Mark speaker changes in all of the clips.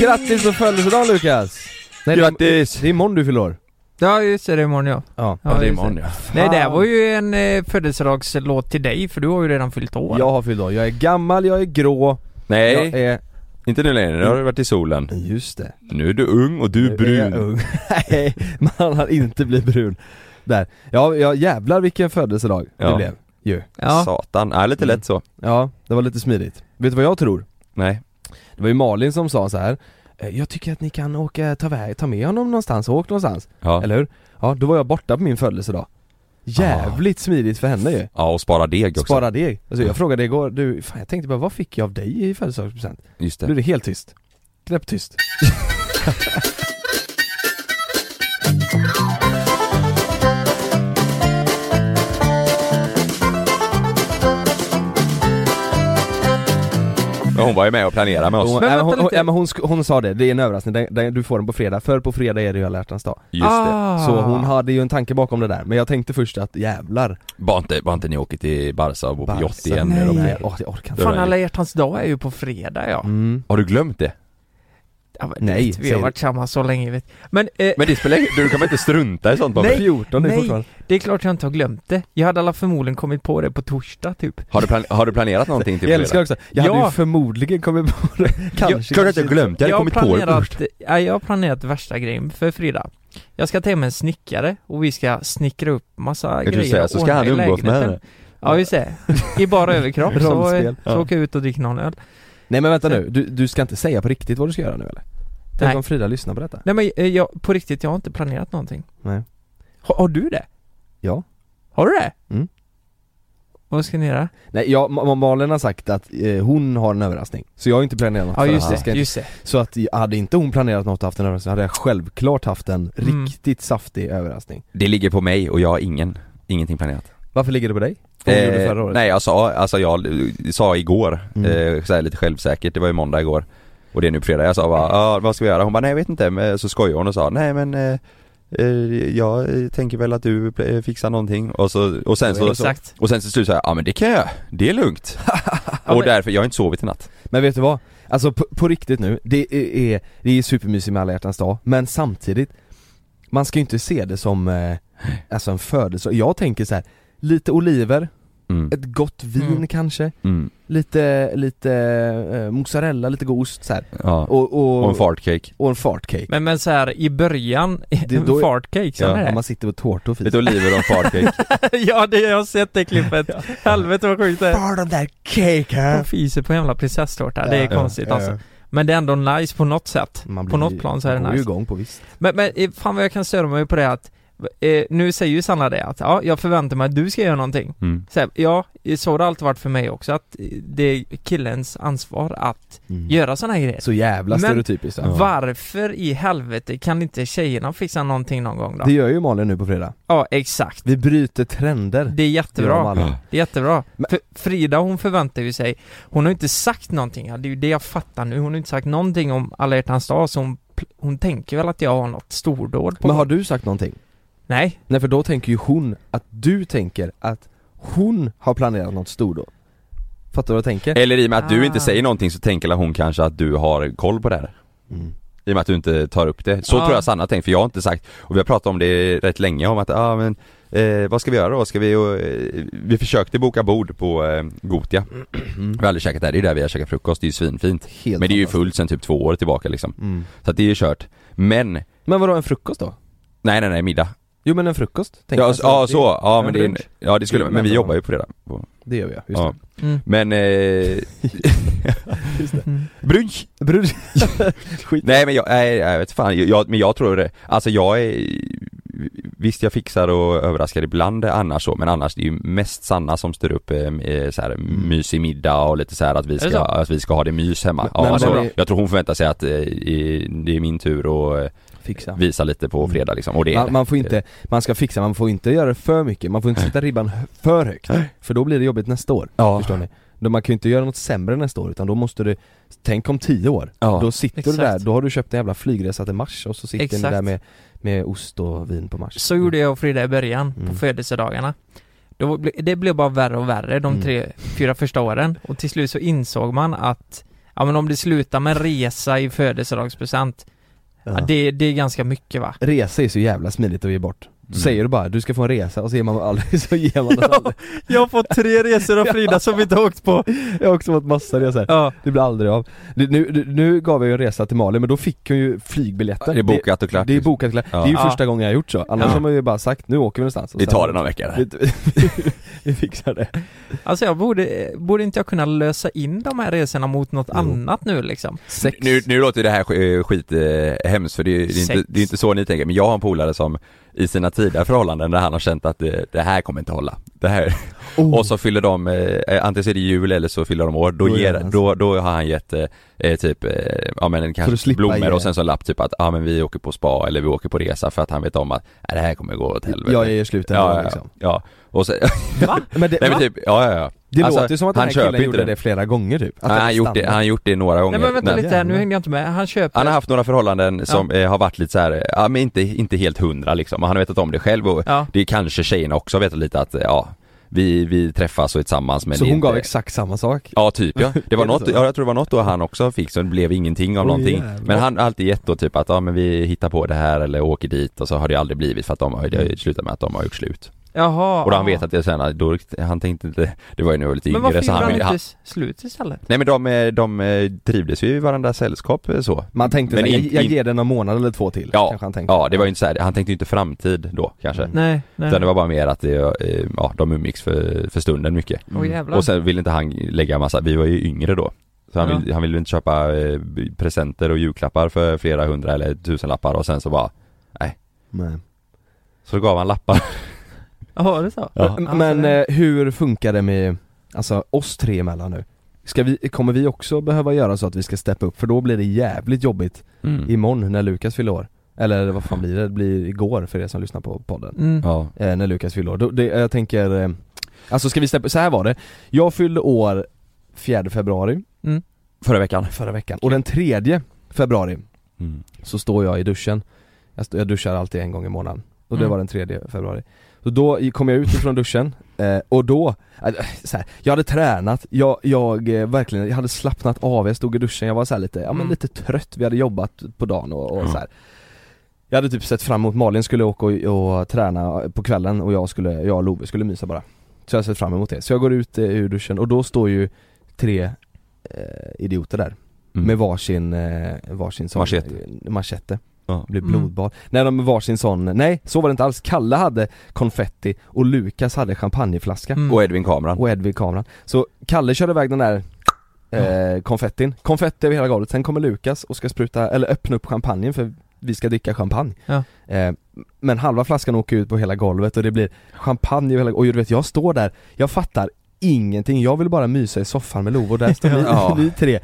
Speaker 1: Grattis på födelsedagen Lukas! Nej,
Speaker 2: Grattis!
Speaker 1: Det, det är imorgon du fyller år.
Speaker 2: Ja just det, det är imorgon ja.
Speaker 1: Ja.
Speaker 2: Ja, just
Speaker 3: ja.
Speaker 1: Fan.
Speaker 2: Nej det här var ju en eh, födelsedagslåt till dig för du har ju redan fyllt år.
Speaker 1: Jag har fyllt år. Jag är gammal, jag är grå, jag
Speaker 3: Nej,
Speaker 1: är...
Speaker 3: inte nu längre. Nu har du varit i solen.
Speaker 1: Just det.
Speaker 3: Nu är du ung och du är
Speaker 1: Eh, Jag är
Speaker 3: brun.
Speaker 1: ung. Nej, man har inte blivit brun. Där. Ja, ja jävlar vilken födelsedag det
Speaker 3: Ja.
Speaker 1: blev. Ju.
Speaker 2: Ja.
Speaker 3: Satan. Nej, lite
Speaker 1: Mm.
Speaker 3: lätt så.
Speaker 1: Ja, det var lite smidigt. Vet du vad jag tror?
Speaker 3: Nej.
Speaker 1: Det var ju Malin som sa så här. "Eh, Jag tycker att ni kan åka, ta, väg, ta med honom någonstans, åk någonstans.
Speaker 3: Ja.
Speaker 1: Eller hur? Ja, då var jag borta på min födelsedag. Jävligt smidigt för henne ju.
Speaker 3: ja, och spara deg också.
Speaker 1: Spara deg. Alltså jag frågade igår, du, fan jag tänkte bara vad fick jag av dig i födelsedagspresent?
Speaker 3: Just
Speaker 1: Då blev
Speaker 3: det.
Speaker 1: det helt tyst. Knäpptyst.
Speaker 3: Men hon var ju med och planerade med
Speaker 1: Hon,
Speaker 3: oss.
Speaker 2: Men
Speaker 1: äh,
Speaker 2: vänta
Speaker 1: hon, hon,
Speaker 2: lite.
Speaker 1: äh, men hon, sk- hon sa det, det är en överraskning, den, den, du får den på fredag, för på fredag är det ju alla hjärtans dag.
Speaker 3: Just det.
Speaker 2: Ah.
Speaker 1: Så hon hade ju en tanke bakom det där, men jag tänkte först att jävlar
Speaker 3: Bara inte, bara inte ni åker till Barca och bor på yacht
Speaker 1: Barca.
Speaker 3: igen när de
Speaker 1: Nej,
Speaker 3: är.
Speaker 1: åh, jag orkar inte.
Speaker 2: Fan alla hjärtans dag är ju på fredag ja.
Speaker 1: Mm.
Speaker 3: Har du glömt det?
Speaker 2: ja men,
Speaker 1: Nej,
Speaker 2: vet, vi
Speaker 1: säger
Speaker 2: har
Speaker 1: du.
Speaker 2: varit samma så länge vet. Men, eh,
Speaker 3: Men det spelar ingen- Du kommer inte strunta i sånt bara.
Speaker 2: Nej.
Speaker 1: 14 är
Speaker 2: Nej.
Speaker 1: fortfarande.
Speaker 2: det är klart jag inte har glömt det. Jag hade alla förmodligen kommit på det på torsdag typ.
Speaker 3: Har du, plan, har du planerat någonting till
Speaker 1: Jag älskar
Speaker 3: fredag?
Speaker 1: också, jag hade
Speaker 2: Ja.
Speaker 1: ju förmodligen kommit på det, kanske
Speaker 3: Klart att jag glömt, jag hade kommit på det först.
Speaker 2: planerat, ja, jag har planerat värsta grejen för fredag. Jag ska ta hem en snickare och vi ska snickra upp massa
Speaker 3: Kan
Speaker 2: grejer
Speaker 3: du säga, så ska
Speaker 2: ordna
Speaker 3: han
Speaker 2: i
Speaker 3: umgås med
Speaker 2: lägenheten.
Speaker 3: henne.
Speaker 2: Ja just det, i bara överkropp så,
Speaker 1: Rollspel.
Speaker 2: så
Speaker 3: Ja.
Speaker 2: åker jag ut och dricker någon öl
Speaker 1: Nej men vänta nu, du, du ska inte säga på riktigt vad du ska göra nu eller? Tänk
Speaker 2: Nej.
Speaker 1: om Frida lyssnar på detta?
Speaker 2: Nej men eh, jag, på riktigt, jag har inte planerat någonting
Speaker 1: Nej.
Speaker 2: Har, har du det?
Speaker 1: Ja.
Speaker 2: Har du det?
Speaker 1: Mm.
Speaker 2: Vad ska ni göra?
Speaker 1: Nej, jag, Ma- Malin har sagt att eh, hon har en överraskning, så jag har inte planerat något
Speaker 2: Ja
Speaker 1: för
Speaker 2: just
Speaker 1: att jag
Speaker 2: det,
Speaker 1: ska inte
Speaker 2: just det
Speaker 1: Så att jag- hade inte hon planerat något och haft en överraskning hade jag självklart haft en
Speaker 2: Mm.
Speaker 1: riktigt saftig överraskning.
Speaker 3: Det ligger på mig och jag har ingen, ingenting planerat.
Speaker 1: Varför ligger det på dig? Vad hon gjorde
Speaker 3: Eh,
Speaker 1: förra året?
Speaker 3: Nej jag sa, alltså jag sa igår,
Speaker 1: Mm.
Speaker 3: eh, så här lite självsäkert, det var ju måndag igår Och det är nu på fredag, jag sa bara ah, vad ska vi göra? Hon bara nej jag vet inte, men så skojade hon och sa nej men eh, eh, jag eh, tänker väl att du eh, fixar någonting och, så, och sen så
Speaker 2: Exakt
Speaker 3: Och sen till slut sa jag, ja ah, men det kan jag, det är lugnt
Speaker 2: Ja,
Speaker 3: Och
Speaker 2: men-
Speaker 3: därför, jag har inte sovit i natt
Speaker 1: Men vet du vad? Alltså på, på riktigt nu, det är, är, det är supermysigt med alla hjärtans dag, men samtidigt Man ska ju inte se det som eh, alltså en födelsedag. Jag tänker så här: lite oliver,
Speaker 3: mm.
Speaker 1: ett gott vin
Speaker 2: Mm.
Speaker 1: kanske,
Speaker 3: Mm.
Speaker 1: lite, lite eh, mozzarella, lite god ost så här.
Speaker 3: Ja. Och,
Speaker 1: Och, och,
Speaker 3: en fartcake
Speaker 1: och en fartcake.
Speaker 2: Men, men så här i början,
Speaker 1: Det- då-
Speaker 2: fartcake,
Speaker 3: Ja,
Speaker 2: ja,
Speaker 1: När
Speaker 2: det?
Speaker 1: man sitter på tårta och
Speaker 3: Lite
Speaker 1: fiskar.
Speaker 3: oliver och en fartcake
Speaker 2: ja det, jag har sett det klippet Helvete vad sjukt det är
Speaker 1: Bara den där cake
Speaker 2: De
Speaker 1: här.
Speaker 2: fiser på en jävla prinsesstårta, det är
Speaker 1: Ja,
Speaker 2: konstigt
Speaker 1: ja,
Speaker 2: alltså
Speaker 1: ja.
Speaker 2: Men det är ändå nice på något sätt
Speaker 1: Man
Speaker 2: På något plan så är det
Speaker 1: man går ju
Speaker 2: nice
Speaker 1: igång på visst.
Speaker 2: Men, men eh, fan vad jag kan störa mig på det att eh, Nu säger ju Sanna det att ja, jag förväntar mig att du ska göra någonting
Speaker 3: mm.
Speaker 2: så här, Ja, så har det alltid varit för mig också att eh, det är killens ansvar att göra sådana här grejer
Speaker 1: Mm. Så jävla
Speaker 2: Men-
Speaker 1: stereotypiskt ja.
Speaker 2: Varför i helvete kan inte tjejerna fixa någonting någon gång då?
Speaker 1: Det gör ju Malin nu på fredag.
Speaker 2: Ja, exakt
Speaker 1: Vi bryter trender.
Speaker 2: Det är
Speaker 1: Det gör de
Speaker 2: jättebra,
Speaker 1: alla.
Speaker 2: det är jättebra
Speaker 1: Men-
Speaker 2: för Frida hon förväntar ju sig Hon har ju inte sagt någonting, ja, det är ju det jag fattar nu Hon har inte sagt någonting om alla hjärtans dag så hon, pl- hon tänker väl att jag har något stordåd på
Speaker 1: Men har
Speaker 2: gång.
Speaker 1: du sagt någonting?
Speaker 2: Nej,
Speaker 1: Nej för då tänker ju hon att du tänker att hon har planerat något stort då. Fattar du vad jag tänker?
Speaker 3: Eller i och med att du
Speaker 2: Ah.
Speaker 3: inte säger någonting så tänker hon kanske att du har koll på det här
Speaker 1: Mm.
Speaker 3: I och med att du inte tar upp det. Så
Speaker 2: Ja.
Speaker 3: tror jag Sanna har tänkt, för jag har inte sagt, och vi har pratat om det rätt länge om att, ja ah, men eh, vad ska vi göra då? Ska vi, och, eh, vi försökte boka bord på eh, Gotia. Vi har aldrig käkat där, det är där vi har käkat frukost, det är ju svinfint.
Speaker 1: Mm. Helt
Speaker 3: men det är ju
Speaker 1: fantastiskt.
Speaker 3: fullt sen typ två år tillbaka liksom.
Speaker 1: Mm.
Speaker 3: Så att det är ju kört. Men, nej
Speaker 1: Men vadå en frukost då?
Speaker 3: nej nej, middag.
Speaker 1: Jo men en frukost? tänker
Speaker 3: Ja,
Speaker 1: jag.
Speaker 3: s- ja
Speaker 1: alltså, det-
Speaker 3: så, ja men det, är en-
Speaker 1: brunch.
Speaker 3: ja det skulle men vi jobbar ju på det där. På,
Speaker 1: Det gör vi ja, just
Speaker 3: ja.
Speaker 2: Mm.
Speaker 3: Men, eh, brunch!
Speaker 1: det. Brunch.
Speaker 3: Nej men jag, nej, jag vet fan, jag- jag, men jag tror det, alltså jag är Visst jag fixar och överraskar ibland annars så, men annars det är ju mest Sanna som styr upp eh, eh, så här,
Speaker 1: Mm.
Speaker 3: mysig middag och lite så här att vi
Speaker 2: det
Speaker 3: ska,
Speaker 2: så?
Speaker 3: att vi ska ha det mys hemma.
Speaker 1: Men-
Speaker 3: Ja,
Speaker 1: men-
Speaker 3: alltså,
Speaker 1: men-
Speaker 3: jag tror hon förväntar sig att eh, i- det är min tur att eh,
Speaker 1: Fixa.
Speaker 3: visa lite på fredag liksom, och det är det.
Speaker 1: Mm. Man, man får inte, man ska fixa, man får inte göra det för mycket, man får inte sätta ribban hö- för högt För då blir det jobbigt nästa år,
Speaker 3: Ja.
Speaker 1: förstår ni? Då man kan ju inte göra något sämre nästa år utan då måste du, tänk om tio år,
Speaker 3: Ja. Mm.
Speaker 1: då sitter du
Speaker 2: Exakt.
Speaker 1: där, då har du köpt en jävla flygresa till Mars och så sitter ni
Speaker 2: Exakt.
Speaker 1: där med, med ost och vin på Mars
Speaker 2: Så gjorde jag och Frida i början, på
Speaker 1: Mm.
Speaker 2: födelsedagarna. Då, ble- det blev bara värre och värre de
Speaker 1: Mm.
Speaker 2: tre, fyra första åren. Och till slut så insåg man att, ja men om det slutar med resa i födelsedagspresent, ja.
Speaker 1: Ja.
Speaker 2: det, det är ganska mycket va?
Speaker 1: Resa är så jävla smidigt att ge bort
Speaker 3: Mm.
Speaker 1: Så Säger du bara, du ska få en resa och så ger man aldrig, så ger man den aldrig
Speaker 2: Jag har fått tre resor av Frida som vi inte har åkt på!
Speaker 1: Jag har också fått massa resor,
Speaker 2: Ja,
Speaker 1: det blir aldrig av Nu, nu, nu gav jag ju en resa till Mali men då fick hon ju flygbiljetten
Speaker 3: Det är bokat och klart.
Speaker 1: Det är bokat klart.
Speaker 3: Ja.
Speaker 1: Det är ju
Speaker 2: Ja.
Speaker 1: första gången jag har gjort så, annars
Speaker 2: Ja.
Speaker 1: har man ju bara sagt nu åker vi någonstans och
Speaker 3: Vi
Speaker 1: sen-
Speaker 3: tar det någon vecka
Speaker 1: vi,
Speaker 3: där.
Speaker 1: vi fixar det
Speaker 2: alltså jag borde, borde inte jag kunna lösa in de här resorna mot något
Speaker 1: Jo.
Speaker 2: annat nu liksom?
Speaker 1: Sex
Speaker 3: Nu, nu låter det här sk- eh, skit eh, hemskt för det är, det, är
Speaker 2: Sex.
Speaker 3: inte, det är inte så ni tänker, men jag har en polare som i sina tidiga förhållanden där han har känt att eh, det, det här kommer inte hålla. Det här. Och så fyller de, eh, antingen så är det jul eller så fyller de år, då,
Speaker 1: Oh. Då gör
Speaker 3: ger,
Speaker 1: han så.
Speaker 3: då, då har han gett eh, eh, typ, eh, ja men
Speaker 1: att
Speaker 3: kanske
Speaker 1: slippa ge
Speaker 3: blommor
Speaker 1: det.
Speaker 3: och sen så en lapp typ att, ja men vi åker på spa eller vi åker på resa för att han vet om att, nej det här kommer gå åt helvete.
Speaker 1: Jag ger slut ändå
Speaker 3: ja, ja,
Speaker 1: liksom
Speaker 3: ja, och så,
Speaker 2: Va?
Speaker 1: Men det,
Speaker 3: nej men
Speaker 1: va?
Speaker 3: typ, ja ja ja.
Speaker 1: det
Speaker 3: Alltså,
Speaker 1: låter ju som att den
Speaker 3: han
Speaker 1: här
Speaker 3: köper
Speaker 1: killen gjorde
Speaker 3: inte
Speaker 1: det.
Speaker 3: det.
Speaker 1: flera gånger typ Att
Speaker 3: Nej,
Speaker 1: det
Speaker 3: han,
Speaker 1: är
Speaker 3: har gjort det, han har
Speaker 1: standard.
Speaker 3: gjort det några gånger.
Speaker 2: Nej men vänta
Speaker 3: men-
Speaker 2: lite här, nu hängde jag inte med. Han köper...
Speaker 3: Han har haft några förhållanden som eh, har varit lite så här, ja men inte, inte helt hundra liksom, och han har vetat om det själv och
Speaker 2: Ja.
Speaker 3: det är kanske tjejerna också vetat lite att, eh, ja, vi, vi träffas och är tillsammans men
Speaker 1: Så
Speaker 3: det är
Speaker 1: hon
Speaker 3: inte...
Speaker 1: gav exakt samma sak?
Speaker 3: Ja typ ja, det var
Speaker 1: Är det
Speaker 3: något,
Speaker 1: så?
Speaker 3: ja, jag tror det var något då han också fick så det blev ingenting av
Speaker 1: Åh,
Speaker 3: någonting
Speaker 1: jävlar.
Speaker 3: Men han har alltid gett då typ att, ja men vi hittar på det här eller åker dit och så har det aldrig blivit för att de har, det har
Speaker 1: Mm.
Speaker 3: ju slutat med att de har gjort slut
Speaker 2: Jaha.
Speaker 3: Och då han
Speaker 2: ja.
Speaker 3: vet att det sen, då, han tänkte inte, det var ju när jag var lite
Speaker 2: Men
Speaker 3: yngre
Speaker 2: varför
Speaker 3: så
Speaker 2: gjorde
Speaker 3: han,
Speaker 2: han
Speaker 3: ville-
Speaker 2: inte
Speaker 3: han
Speaker 2: slut istället?
Speaker 3: Nej men de, eh, de eh, trivdes ju i varandras sällskap eh, så
Speaker 1: Man tänkte
Speaker 3: Men
Speaker 1: såhär, jag,
Speaker 3: in-
Speaker 1: jag
Speaker 3: in-
Speaker 1: ger den en månad eller två till
Speaker 3: Ja,
Speaker 1: kanske han tänkte
Speaker 3: ja det var ju inte så här, han tänkte ju inte framtid då kanske
Speaker 2: Nej, nej.
Speaker 3: Utan det var bara mer att det, eh, ja, de umgicks för, för stunden mycket.
Speaker 2: Mm. Åh jävlar.
Speaker 3: Och sen ville inte han lägga massa, vi var ju yngre då. Så han,
Speaker 2: Ja.
Speaker 3: ville, han ville inte köpa eh, b- presenter och julklappar för flera hundra eller tusenlappar och sen så bara,
Speaker 1: Nej.
Speaker 3: så gav han lappar.
Speaker 2: Jaha, det är så?
Speaker 3: Ja.
Speaker 1: Men,
Speaker 2: Alltså,
Speaker 1: men eh, hur funkar det med, alltså oss tre emellan nu? Ska vi, kommer vi också behöva göra så att vi ska steppa upp? För då blir det jävligt jobbigt
Speaker 3: Mm.
Speaker 1: imorgon när Lukas fyller år Eller vad fan blir det? Det blir igår för er som lyssnar på podden
Speaker 2: Mm.
Speaker 3: Ja.
Speaker 1: eh, När Lukas fyller år, då, det, jag tänker eh, Alltså ska vi steppa, så här var det Jag fyllde år 4 februari
Speaker 3: Förra veckan.
Speaker 1: förra veckan och den 3 februari
Speaker 3: Mm.
Speaker 1: så står jag i duschen Jag, stå, jag duschar alltid en gång i månaden och det
Speaker 2: Mm.
Speaker 1: var den 3 februari Så då i- kom jag ut ifrån duschen eh, och då, äh, så här, jag hade tränat, jag, jag eh, verkligen, jag hade slappnat av, jag stod i duschen, jag var så här lite, ja men
Speaker 2: Mm.
Speaker 1: lite trött, vi hade jobbat på dagen och, och
Speaker 3: Ja.
Speaker 1: så här. Jag hade typ sett fram emot Malin skulle åka och, och träna på kvällen och jag skulle, jag och Love skulle mysa bara Så jag hade sett fram emot det, så jag går ut eh, ur duschen och då står ju tre eh, idioter där
Speaker 3: Mm.
Speaker 1: med varsin, eh, varsin sån
Speaker 3: Machete.
Speaker 1: eh, machete.
Speaker 3: Ja.
Speaker 1: Det blev
Speaker 2: Mm.
Speaker 1: blodbad. Nej de med varsin sån, nej så var det inte alls. Kalle hade konfetti och Lukas hade champagneflaska
Speaker 2: Mm.
Speaker 3: Och Edvin kameran.
Speaker 1: och Ed vid kameran. Så Kalle körde iväg den där eh, konfettin, konfetti över hela golvet, sen kommer Lukas och ska spruta, eller öppna upp champagnen för vi ska dricka champagne.
Speaker 2: Ja.
Speaker 1: Eh, men halva flaskan åker ut på hela golvet och det blir champagne över hela och du vet jag står där, jag fattar ingenting, jag vill bara mysa i soffan med Love och där står ni,
Speaker 3: Ja.
Speaker 1: ni tre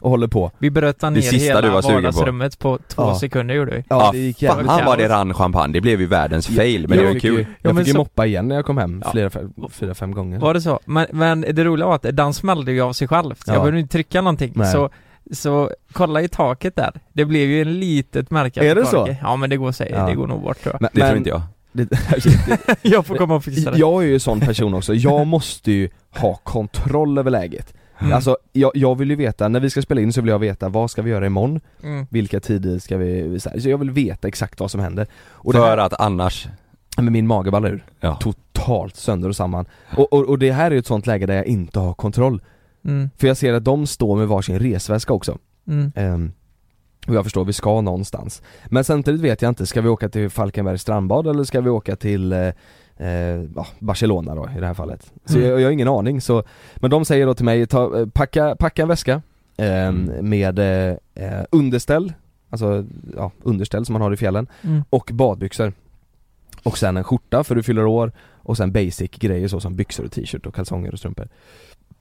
Speaker 1: och håller på.
Speaker 2: Vi bröt ner
Speaker 3: Det sista
Speaker 2: hela
Speaker 3: du var sugen på.
Speaker 2: vardagsrummet på, två
Speaker 1: Ja.
Speaker 2: sekunder gjorde vi.
Speaker 1: Ja, det gick jävligt
Speaker 3: fan
Speaker 2: bra.
Speaker 3: vad det rann champagne, det blev ju världens fail men det var ju
Speaker 1: fick ju-
Speaker 3: kul.
Speaker 1: Jag
Speaker 2: men
Speaker 1: fick ju
Speaker 2: så-
Speaker 1: moppa igen när jag kom hem
Speaker 2: Ja.
Speaker 1: flera, fyra, fem gånger
Speaker 2: Var det så? Men, men det roliga var att den smällde ju av sig själv.
Speaker 1: Ja.
Speaker 2: Jag behövde inte trycka någonting.
Speaker 1: Nej.
Speaker 2: Så, så kolla i taket där. Det blev ju en litet märke.
Speaker 1: Är
Speaker 2: på
Speaker 1: det så?
Speaker 2: taket. Ja men det går, sig,
Speaker 1: Ja.
Speaker 2: det går nog bort tror jag.
Speaker 1: Men,
Speaker 3: Det tror
Speaker 1: men-
Speaker 3: inte jag.
Speaker 2: jag får komma och fixa det.
Speaker 1: Jag är ju sån person också, jag måste ju ha kontroll över läget
Speaker 3: Mm.
Speaker 1: Alltså jag, jag vill ju veta, när vi ska spela in så vill jag veta vad ska vi göra imorgon?
Speaker 2: Mm.
Speaker 1: Vilka tider ska vi, så, här, så jag vill veta exakt vad som händer. Och det
Speaker 3: För
Speaker 1: här,
Speaker 3: att annars...
Speaker 1: men min mage ballar ur.
Speaker 3: Ja.
Speaker 1: Totalt sönder och samman. Och, och, och det här är ju ett sånt läge där jag inte har kontroll.
Speaker 2: Mm.
Speaker 1: För jag ser att de står med varsin resväska också.
Speaker 2: Mm.
Speaker 1: Ehm, och jag förstår, vi ska någonstans. Men samtidigt vet jag inte, ska vi åka till Falkenbergs strandbad eller ska vi åka till eh, eh, ja, Barcelona då i det här fallet? Så
Speaker 2: Mm.
Speaker 1: jag, jag har ingen aning så, men de säger då till mig, ta, eh, packa, packa en väska ehm, med eh, eh, underställ, alltså ja, underställ som man har i fjällen
Speaker 2: Mm.
Speaker 1: och badbyxor. Och sen en skjorta för du fyller år och sen basic grejer så som byxor och t-shirt och kalsonger och strumpor.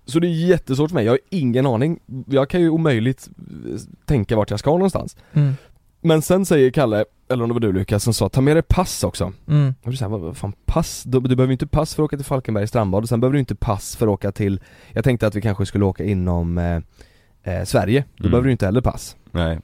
Speaker 1: Så det är jättesvårt för mig, jag har ingen aning. Jag kan ju omöjligt eh, tänka vart jag ska någonstans.
Speaker 2: Mm.
Speaker 1: Men sen säger Kalle, eller om det var du Lukas, som sa ta med dig pass också.
Speaker 2: Mm.
Speaker 1: Och du säger, vad vad fan pass? Du, du behöver ju inte pass för att åka till Falkenberg strandbad och sen behöver du inte pass för att åka till, jag tänkte att vi kanske skulle åka inom eh, eh, Sverige, då
Speaker 3: Mm.
Speaker 1: behöver du inte heller pass.
Speaker 3: Nej.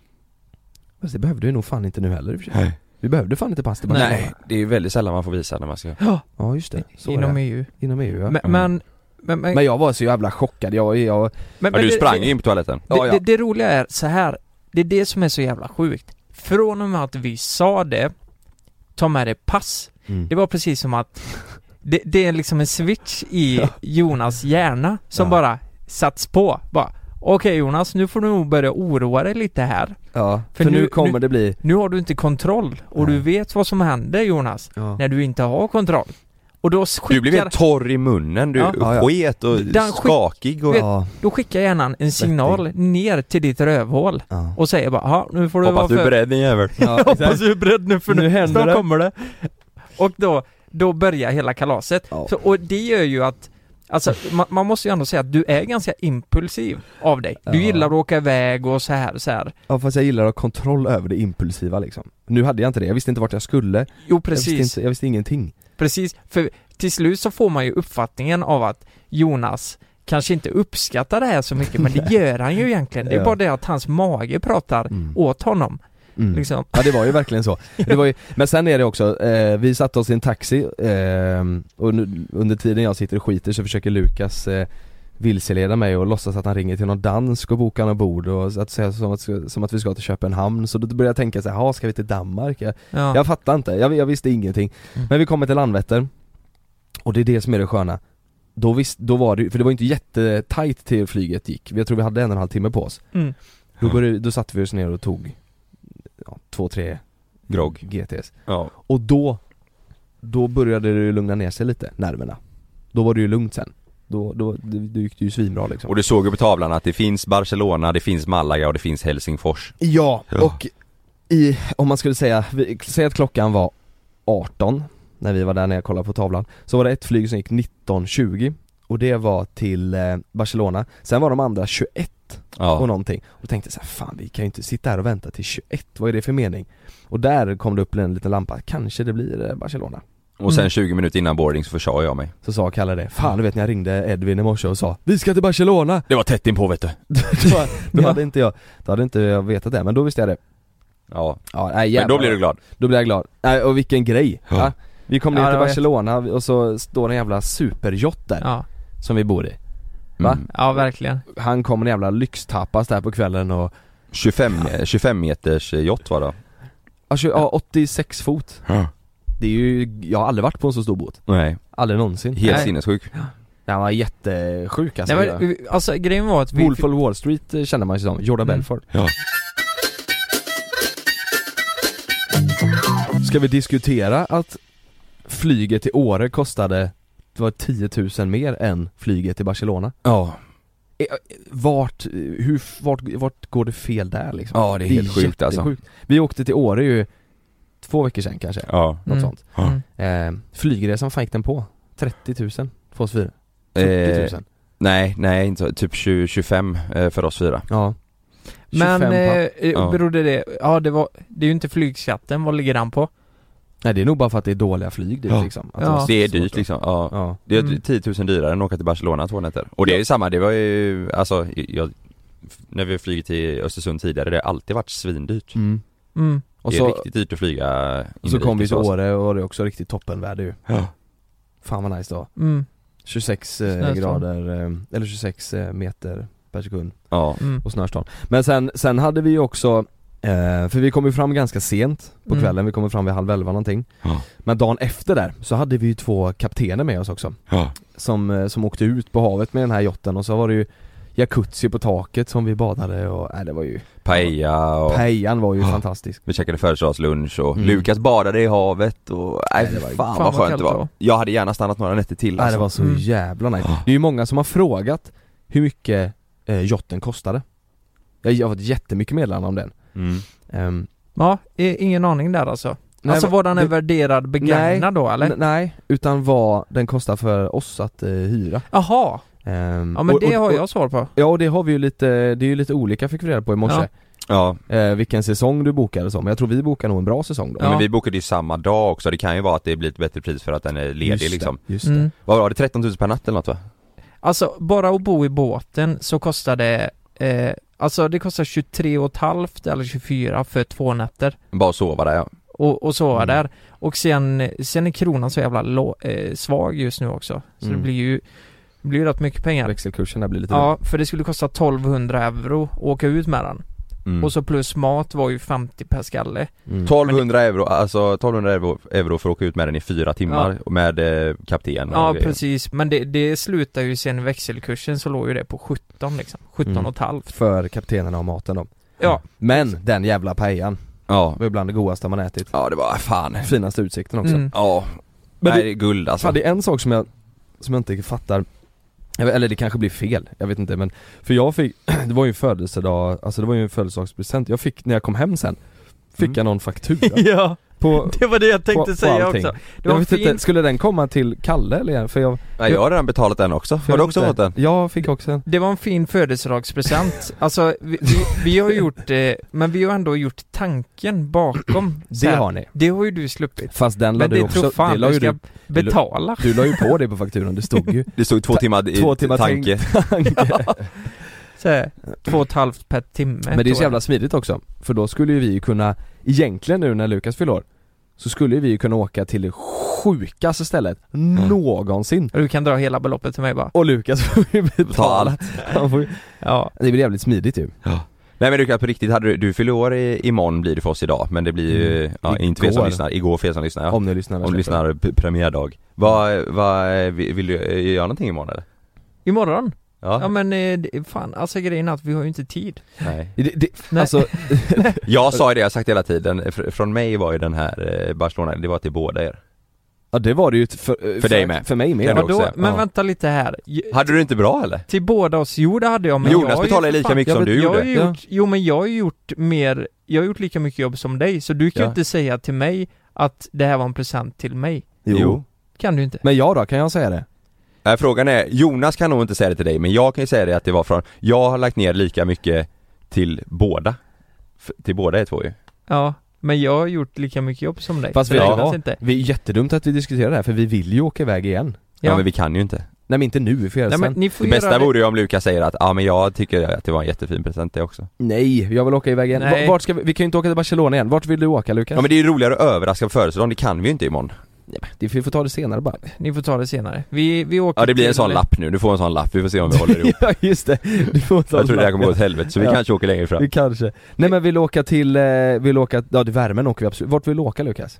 Speaker 1: Fast det behövde du nog fan inte nu heller i och för sig. Vi behövde fan inte pass till Barcelona.
Speaker 3: Nej, det är ju väldigt sällan man får visa när man ska...
Speaker 1: Ja just det, så är
Speaker 2: Inom
Speaker 1: det.
Speaker 2: EU.
Speaker 1: Inom EU ja. Mm.
Speaker 2: Men,
Speaker 3: Mm.
Speaker 2: men, men, men,
Speaker 1: Men jag var så jävla chockad, jag, jag
Speaker 2: men-
Speaker 3: Ja,
Speaker 2: men
Speaker 3: du
Speaker 2: det-
Speaker 3: sprang in på toaletten.
Speaker 2: Det,
Speaker 1: Ja, ja.
Speaker 2: det, det roliga är så här. det är det som är så jävla sjukt. Från och med att vi sa det, ta med dig pass.
Speaker 1: Mm.
Speaker 2: Det var precis som att det, det är liksom en switch i Jonas hjärna som
Speaker 1: Ja.
Speaker 2: bara satts på. Bara, Okej Jonas, nu får du nog börja oroa dig lite här.
Speaker 1: Ja, för,
Speaker 2: För
Speaker 1: nu,
Speaker 2: nu-
Speaker 1: kommer
Speaker 2: nu-
Speaker 1: det bli
Speaker 2: Nu har du inte kontroll och du
Speaker 1: Nej.
Speaker 2: vet vad som händer Jonas,
Speaker 1: ja.
Speaker 2: när du inte har kontroll. Och då
Speaker 3: Du blev
Speaker 2: skickar,
Speaker 3: helt torr i munnen, du
Speaker 2: Ja.
Speaker 1: Ja, ja.
Speaker 3: sket och
Speaker 2: Den skick-
Speaker 3: skakig och...
Speaker 2: Vet-
Speaker 1: Ja,
Speaker 2: då skickar hjärnan en signal ner till ditt rövhål
Speaker 1: ja.
Speaker 2: och säger bara, "Ja, nu får du
Speaker 3: Hoppas du
Speaker 2: vara
Speaker 3: är
Speaker 2: för...
Speaker 3: beredd din jävel.
Speaker 2: Hoppas du är beredd nu för nu,
Speaker 1: Nu händer
Speaker 2: snart
Speaker 1: det.
Speaker 2: kommer det. Och då, då börjar hela kalaset.
Speaker 1: Ja.
Speaker 2: Så, och det gör ju att, alltså man, man måste ju ändå säga att du är ganska impulsiv av dig. Du
Speaker 1: Ja.
Speaker 2: gillar att åka iväg och så här, så här.
Speaker 1: ja fast jag gillar att ha kontroll över det impulsiva liksom Nu hade jag inte det, jag visste inte vart jag skulle
Speaker 2: Jo
Speaker 1: Jag
Speaker 2: precis,
Speaker 1: visste, inte, jag visste ingenting
Speaker 2: precis. För till slut så får man ju uppfattningen av att Jonas kanske inte uppskattar det här så mycket, men det gör han ju egentligen. Det är
Speaker 1: Ja.
Speaker 2: bara det att hans mage pratar
Speaker 1: Mm.
Speaker 2: åt honom,
Speaker 1: Mm.
Speaker 2: liksom.
Speaker 1: Ja det var ju verkligen så. Det var ju, men sen är det också, eh, vi satte oss i en taxi eh, och nu, under tiden jag sitter och skiter så försöker Lukas eh, vilseleda mig och låtsas att han ringer till någon dansk och bokar något bord och så att säga som att, som att vi ska till Köpenhamn så då började jag tänka så här, "Jaha, ska vi till Danmark? Jag,
Speaker 2: Ja.
Speaker 1: jag fattar inte, jag, jag visste ingenting.
Speaker 2: Mm.
Speaker 1: Men vi kommer till Landvetter och det är det som är det sköna. Då, visst, då var det för det var ju inte jättetajt till flyget gick, jag tror vi hade en och en halv timme på oss.
Speaker 2: Mm.
Speaker 1: Då, började, då satte vi oss ner och tog ja, två, tre
Speaker 3: Grogg.
Speaker 1: GTs.
Speaker 3: Ja.
Speaker 1: Och då, då började det ju lugna ner sig lite, nerverna. Då var det ju lugnt sen. Då, då, det, det gick det ju svinbra liksom.
Speaker 3: Och du såg ju på tavlan att det finns Barcelona, det finns Malaga och det finns Helsingfors.
Speaker 1: Ja,
Speaker 3: Ja.
Speaker 1: och i, om man skulle säga, vi- säg att klockan var 18 när vi var där när jag kollade på tavlan, så var det ett flyg som gick 19.20 och det var till eh, Barcelona, sen var de andra 21 och
Speaker 3: Ja.
Speaker 1: någonting och då tänkte jag så här, fan vi kan ju inte sitta här och vänta till 21, vad är det för mening? Och där kom det upp en liten lampa, kanske det blir eh, Barcelona
Speaker 3: Och sen
Speaker 2: Mm.
Speaker 3: 20 minuter innan boarding så försade jag mig.
Speaker 1: Så sa Kalle det, fan du vet när jag ringde Edvin i morse och sa Vi ska till Barcelona!
Speaker 3: Det var tätt inpå vet du.
Speaker 1: Då, då
Speaker 2: Ja.
Speaker 1: hade inte jag, då hade inte jag vetat det, men då visste jag det
Speaker 3: Ja.
Speaker 1: ja, nej,
Speaker 3: Men
Speaker 1: jävlar.
Speaker 3: då blir du glad.
Speaker 1: Då blir jag glad, nej och vilken grej!
Speaker 3: Ja.
Speaker 1: Ja. Vi kom ner
Speaker 2: Ja, det
Speaker 1: till
Speaker 2: var
Speaker 1: Barcelona och så står en jävla superjott där
Speaker 2: Ja.
Speaker 1: som vi bor i Va?
Speaker 3: Mm.
Speaker 2: ja, verkligen.
Speaker 1: Han kom en jävla lyxtapas där på kvällen och,
Speaker 3: 25, 25 meters eh, yacht var det.
Speaker 1: Alltså, ja, tjo- ja 86 fot Det är ju, jag har aldrig varit på en så stor båt,
Speaker 3: Nej,
Speaker 1: aldrig någonsin
Speaker 3: helt
Speaker 2: Nej.
Speaker 3: sinnessjuk.
Speaker 1: Den var jättesjuk alltså
Speaker 2: Nej, men, alltså grejen var att vi...
Speaker 1: Wolf of Wall Street eh, kände man sig som, Jordan
Speaker 2: Mm.
Speaker 1: Belfort
Speaker 3: Ja.
Speaker 1: Ska vi diskutera att flyget till Åre kostade, det var 10 000 mer än flyget till Barcelona?
Speaker 3: Ja.
Speaker 1: Vart, eh, hur, vart, vart går det fel där liksom?
Speaker 3: Ja, det är helt sjukt, alltså.
Speaker 1: jättesjukt. Vi åkte till Åre ju två veckor sedan kanske,
Speaker 3: ja.
Speaker 1: något
Speaker 2: Mm.
Speaker 1: sånt
Speaker 2: Mm.
Speaker 1: eh, Flygresan fan gick den på? 30 000 för oss fyra? 40
Speaker 3: Eh,
Speaker 1: 000?
Speaker 3: nej, nej, inte så. typ 20, 25 eh, för oss fyra.
Speaker 1: Ja 25
Speaker 2: Men
Speaker 1: papp.
Speaker 2: eh,
Speaker 3: Ja.
Speaker 2: berodde det, ja det var, det är ju inte flygskatten, vad ligger den på?
Speaker 1: Nej det är nog bara för att det är dåliga flyg dit
Speaker 3: Ja.
Speaker 1: liksom att
Speaker 2: Ja.
Speaker 1: var så
Speaker 3: Det är
Speaker 1: svårt
Speaker 3: dyrt
Speaker 1: att-
Speaker 3: liksom. Ja.
Speaker 1: Ja,
Speaker 3: Det är
Speaker 2: Mm.
Speaker 3: 10 000 dyrare än att åka till Barcelona två nätter. Och det är ju samma, det var ju, alltså, jag, när vi har flugit till Östersund tidigare, det har alltid varit svindyrt.
Speaker 1: mm.
Speaker 2: Mm.
Speaker 1: Och
Speaker 3: det är
Speaker 1: så,
Speaker 3: riktigt dyrt att flyga
Speaker 1: så kom vi
Speaker 3: inrikes
Speaker 1: till
Speaker 3: och så.
Speaker 1: Åre och det är också riktigt toppenväder ju
Speaker 3: Ja.
Speaker 1: Fan vad nice då
Speaker 2: Mm.
Speaker 1: 26 eh,
Speaker 2: Snöstorm.
Speaker 1: grader, eh, eller 26 eh, meter per sekund
Speaker 3: Ja.
Speaker 2: Mm.
Speaker 1: och snöstorm. Men sen, sen hade vi ju också, eh, för vi kom ju fram ganska sent på
Speaker 2: Mm.
Speaker 1: kvällen, vi kom fram vid halv elva någonting.
Speaker 3: Ja.
Speaker 1: Men dagen efter där så hade vi ju två kaptener med oss också,
Speaker 3: Ja.
Speaker 1: som, eh, som åkte ut på havet med den här yachten och så var det ju jacuzzi på taket som vi badade och, nej det var ju,
Speaker 3: Paella och
Speaker 1: paellan var ju
Speaker 3: Ja. Ah.
Speaker 1: fantastisk.
Speaker 3: vi käkade födelsedagslunch och
Speaker 1: Mm.
Speaker 3: Lukas badade i havet och, nej
Speaker 1: det
Speaker 3: det
Speaker 1: var-
Speaker 3: var, fan,
Speaker 2: fan vad
Speaker 3: vad skönt
Speaker 2: kallt
Speaker 3: det
Speaker 2: det var.
Speaker 3: var. Jag hade gärna stannat några nätter till
Speaker 1: Nej det
Speaker 3: alltså.
Speaker 1: var så
Speaker 2: Mm.
Speaker 1: jävla nice. Det är ju många som har frågat hur mycket eh, yachten kostade. Jag jag har fått jättemycket meddelanden om den.
Speaker 3: mm.
Speaker 1: Ehm,
Speaker 2: Ja, i- ingen aning där alltså. alltså
Speaker 1: nej,
Speaker 2: var den är
Speaker 1: det-
Speaker 2: värderad begagnad då eller?
Speaker 1: n- Nej, utan vad den kostar för oss att eh, hyra.
Speaker 2: Jaha,
Speaker 1: Ehm,
Speaker 2: ja men
Speaker 1: och-
Speaker 2: det
Speaker 1: och-
Speaker 2: har
Speaker 1: och-
Speaker 2: jag svar på.
Speaker 1: Ja och det har vi ju lite, det är ju lite olika fick vi reda på i morse.
Speaker 3: Ja.
Speaker 1: Eh, vilken säsong du bokade som. Jag tror vi bokar nog en bra säsong då.
Speaker 2: Ja.
Speaker 3: men vi bokade ju samma dag också, det kan ju vara att det blir ett bättre pris för att den är
Speaker 1: Just
Speaker 3: ledig liksom.
Speaker 1: Det, just
Speaker 2: Mm.
Speaker 3: Vad var det, 13 000 per natt eller något va?
Speaker 2: Alltså bara att bo i båten så kostar det, eh, alltså det kostar 23 och ett halvt eller 24 för två nätter.
Speaker 3: Bara att sova där ja.
Speaker 2: Och, och så
Speaker 1: Mm.
Speaker 2: där. Och sen, sen är kronan så jävla lå, eh, svag just nu också. Så
Speaker 1: Mm.
Speaker 2: det blir ju, det blir ju rätt mycket
Speaker 1: det.
Speaker 2: pengar.
Speaker 1: Växelkursen där blir lite
Speaker 2: Ja, för det skulle kosta 1200 euro att åka ut med den.
Speaker 3: Mm.
Speaker 2: Och så plus mat var ju 50 per skalle.
Speaker 1: mm.
Speaker 3: 1200 euro, alltså 1200 euro, euro för att åka ut med den i fyra timmar och med eh, kapten och
Speaker 2: Ja,
Speaker 3: grejer.
Speaker 2: precis. Men det, det slutar ju sen i växelkursen så låg ju det på 17 liksom. 17
Speaker 1: Mm.
Speaker 2: och ett halvt.
Speaker 1: för kaptenerna och maten då.
Speaker 2: Ja.
Speaker 1: Men den jävla paellan
Speaker 3: Ja.
Speaker 1: var ju bland det godaste man ätit.
Speaker 3: ja, det var fan.
Speaker 1: Finaste utsikten också.
Speaker 2: Mm.
Speaker 3: Ja,
Speaker 1: Men
Speaker 3: Nej,
Speaker 1: det-
Speaker 3: det är guld alltså.
Speaker 1: Fan, det är en sak som jag, som jag inte fattar Jag vet- Eller det kanske blir fel, jag vet inte men För jag fick, det var ju en födelsedag, alltså det var ju en födelsedagspresent Jag fick, när jag kom hem sen Fick
Speaker 3: Mm.
Speaker 1: jag någon faktura
Speaker 2: Ja,
Speaker 1: på,
Speaker 2: det var det jag
Speaker 1: på, på allting
Speaker 2: Det var
Speaker 1: Jag vet inte,
Speaker 2: fint.
Speaker 1: skulle den komma till Kalle eller? För jag,
Speaker 3: Nej, jag har redan betalat den också.
Speaker 1: för
Speaker 3: Har du
Speaker 1: jag
Speaker 3: också
Speaker 1: vet
Speaker 3: fått
Speaker 1: inte.
Speaker 3: den?
Speaker 1: Jag fick också en
Speaker 2: Det var en fin födelsedagspresent. alltså, vi, vi, vi har gjort, eh, men vi har ändå gjort tanken bakom. Så
Speaker 1: Det
Speaker 2: här,
Speaker 1: har ni
Speaker 2: Det har ju du sluppit.
Speaker 1: Fast den la
Speaker 2: Men
Speaker 1: du
Speaker 2: det tror
Speaker 1: också, det
Speaker 2: fan
Speaker 1: la
Speaker 2: du
Speaker 1: ju
Speaker 2: ska
Speaker 1: du,
Speaker 2: betala.
Speaker 1: du la ju på det på fakturan, det stod ju
Speaker 3: Det stod två
Speaker 1: Ta-
Speaker 3: timmar i
Speaker 1: två timmar
Speaker 3: tanke.
Speaker 2: Så här, två och ett halvt per timme.
Speaker 1: Men det är
Speaker 2: tror
Speaker 1: så
Speaker 2: jag.
Speaker 1: jävla smidigt också, för då skulle ju vi ju kunna, egentligen nu när Lukas fyller år, så skulle vi ju kunna åka till det sjukaste stället
Speaker 3: Mm.
Speaker 1: någonsin.
Speaker 2: Du kan dra hela beloppet till mig bara.
Speaker 1: Och Lukas får ju betala.
Speaker 3: allt.
Speaker 1: Han får ju-
Speaker 2: Ja.
Speaker 1: Det blir jävligt smidigt ju.
Speaker 3: Nej men Lukas på riktigt, hade du, du fyller år i, imorgon blir det för oss idag men det blir ju, ja, inte för er
Speaker 1: Mm. Igår.
Speaker 3: som lyssnar, igår för er som lyssnar ja. Om,
Speaker 1: Om ni lyssnar. när
Speaker 3: du
Speaker 1: jag släpper.
Speaker 3: lyssnar p- premiärdag. Vad, vad, vill, vill du eh, göra någonting imorgon eller?
Speaker 2: Imorgon?
Speaker 3: Ja,
Speaker 2: Ja men eh, det- fan, alltså grejen är att vi har ju inte tid.
Speaker 3: nej.
Speaker 1: Det, det,
Speaker 2: Nej.
Speaker 1: alltså,
Speaker 3: Jag sa ju det, jag har sagt hela tiden, Fr- från mig var ju den här eh, Barcelona, det var till båda er.
Speaker 1: ja det var det ju t- för, eh, för,
Speaker 3: dig med.
Speaker 1: För mig med.
Speaker 3: Den
Speaker 1: Ja,
Speaker 3: också.
Speaker 2: Vadå? Men
Speaker 1: Ja.
Speaker 2: vänta lite här. Ju-
Speaker 3: Hade du det inte bra eller?
Speaker 2: Till båda oss, jo det hade jag men
Speaker 3: Jonas
Speaker 2: jag har ju
Speaker 3: betalade
Speaker 2: för
Speaker 3: lika
Speaker 2: fan-
Speaker 3: mycket
Speaker 2: jag
Speaker 3: som
Speaker 2: vet-
Speaker 3: du
Speaker 2: jag har
Speaker 3: gjorde.
Speaker 2: ju gjort, Jo men jag har ju gjort mer, jag har gjort lika mycket jobb som dig så du kan ju
Speaker 3: Ja.
Speaker 2: inte säga till mig att det här var en present till mig.
Speaker 1: Jo.
Speaker 3: Jo.
Speaker 2: Kan du inte?
Speaker 1: Men jag då, kan jag säga det?
Speaker 3: Nej, frågan är, Jonas kan nog inte säga det till dig men jag kan ju säga det att det var från, jag har lagt ner lika mycket till båda. F- till båda er två ju.
Speaker 2: Ja, men jag har gjort lika mycket jobb som dig.
Speaker 1: Fast
Speaker 2: Så
Speaker 1: vi,
Speaker 2: det
Speaker 3: Ja.
Speaker 2: räknas
Speaker 1: ja,
Speaker 2: inte.
Speaker 1: vi är jättedumt att vi diskuterar det här för vi vill ju åka iväg igen.
Speaker 3: Ja,
Speaker 2: Ja.
Speaker 3: men vi kan ju inte.
Speaker 1: Nej men inte nu, vi får göra det
Speaker 2: Nej, men
Speaker 1: sen.
Speaker 2: ni får
Speaker 3: Det
Speaker 2: göra
Speaker 3: bästa vore ju om Lukas säger att ja men jag tycker att det var en jättefin present det också.
Speaker 1: Nej, jag vill åka iväg igen.
Speaker 2: Nej.
Speaker 1: Va- Vart ska vi, vi kan ju inte åka till Barcelona igen. Vart vill du åka Lukas?
Speaker 3: Ja men det är ju roligare att överraska på födelsedagen, det kan vi ju inte imorgon.
Speaker 1: Det, vi får ta det senare bara.
Speaker 2: Ni får ta det senare. Vi, vi åker
Speaker 3: Ja det blir en
Speaker 2: till-
Speaker 3: sån lapp nu, du får en sån lapp, vi får se om vi håller ihop.
Speaker 1: ja just det, du får ta
Speaker 3: Jag tror det här
Speaker 1: en
Speaker 3: kommer gå åt helvete så vi
Speaker 1: Ja.
Speaker 3: kanske åker längre
Speaker 1: Vi
Speaker 3: fram.
Speaker 1: kanske. Nej men vill åka till, eh, vill åka, ja till värmen åker vi absolut. Vart vill du åka Lukas?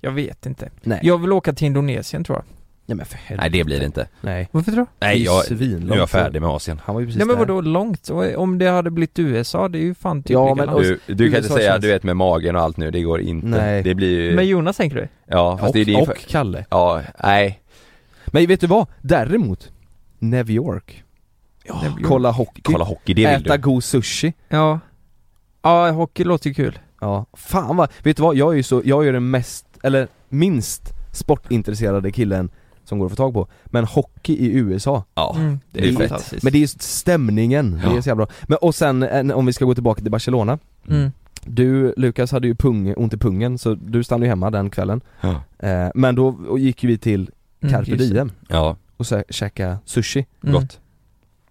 Speaker 2: Jag vet inte.
Speaker 1: Nej.
Speaker 2: Jag vill åka till Indonesien tror jag.
Speaker 1: Nej men för helvete.
Speaker 3: Nej det blir det inte.
Speaker 1: Nej.
Speaker 2: Varför tror du?
Speaker 3: Nej jag,
Speaker 1: Det är ju
Speaker 3: nu är jag
Speaker 1: svinlångt.
Speaker 3: färdig med Asien.
Speaker 1: Han var ju precis
Speaker 2: Nej men
Speaker 1: där.
Speaker 2: vadå långt? Och Om det hade blivit USA, det är ju fan typ
Speaker 1: Ja,
Speaker 2: lika
Speaker 1: men-
Speaker 2: långt.
Speaker 3: Du, du kan inte
Speaker 1: USA
Speaker 3: säga
Speaker 1: känns-
Speaker 3: du vet med magen och allt nu, det går inte.
Speaker 1: Nej.
Speaker 3: Det blir ju,
Speaker 2: Men Jonas tänker du?
Speaker 3: ja fast
Speaker 1: och,
Speaker 3: det är din
Speaker 1: och Kalle.
Speaker 3: Ja, nej.
Speaker 1: Men vet du vad? Däremot, New York. Kolla hockey.
Speaker 3: Kolla hockey, det vill
Speaker 1: Äta
Speaker 3: du.
Speaker 1: god sushi.
Speaker 2: Ja. Ja, hockey låter ju kul.
Speaker 1: Ja, fan vad, vet du vad? Jag är ju så, jag är ju den mest, eller minst sportintresserade killen som går att få tag på. Men hockey i USA,
Speaker 3: Ja,
Speaker 2: Mm.
Speaker 3: det är ju fett.
Speaker 2: fantastiskt.
Speaker 1: men det är ju stämningen, det är så jävla bra. Men och sen eh, om vi ska gå tillbaka till Barcelona.
Speaker 2: Mm.
Speaker 1: Du Lukas hade ju pung, ont i pungen så du stannade ju hemma den kvällen
Speaker 3: Ja.
Speaker 1: eh, Men då och gick ju vi till
Speaker 2: Mm,
Speaker 1: Carpe
Speaker 2: just det.
Speaker 1: Diem
Speaker 3: Ja,
Speaker 1: och så käkade sushi
Speaker 2: Mm.
Speaker 3: gott.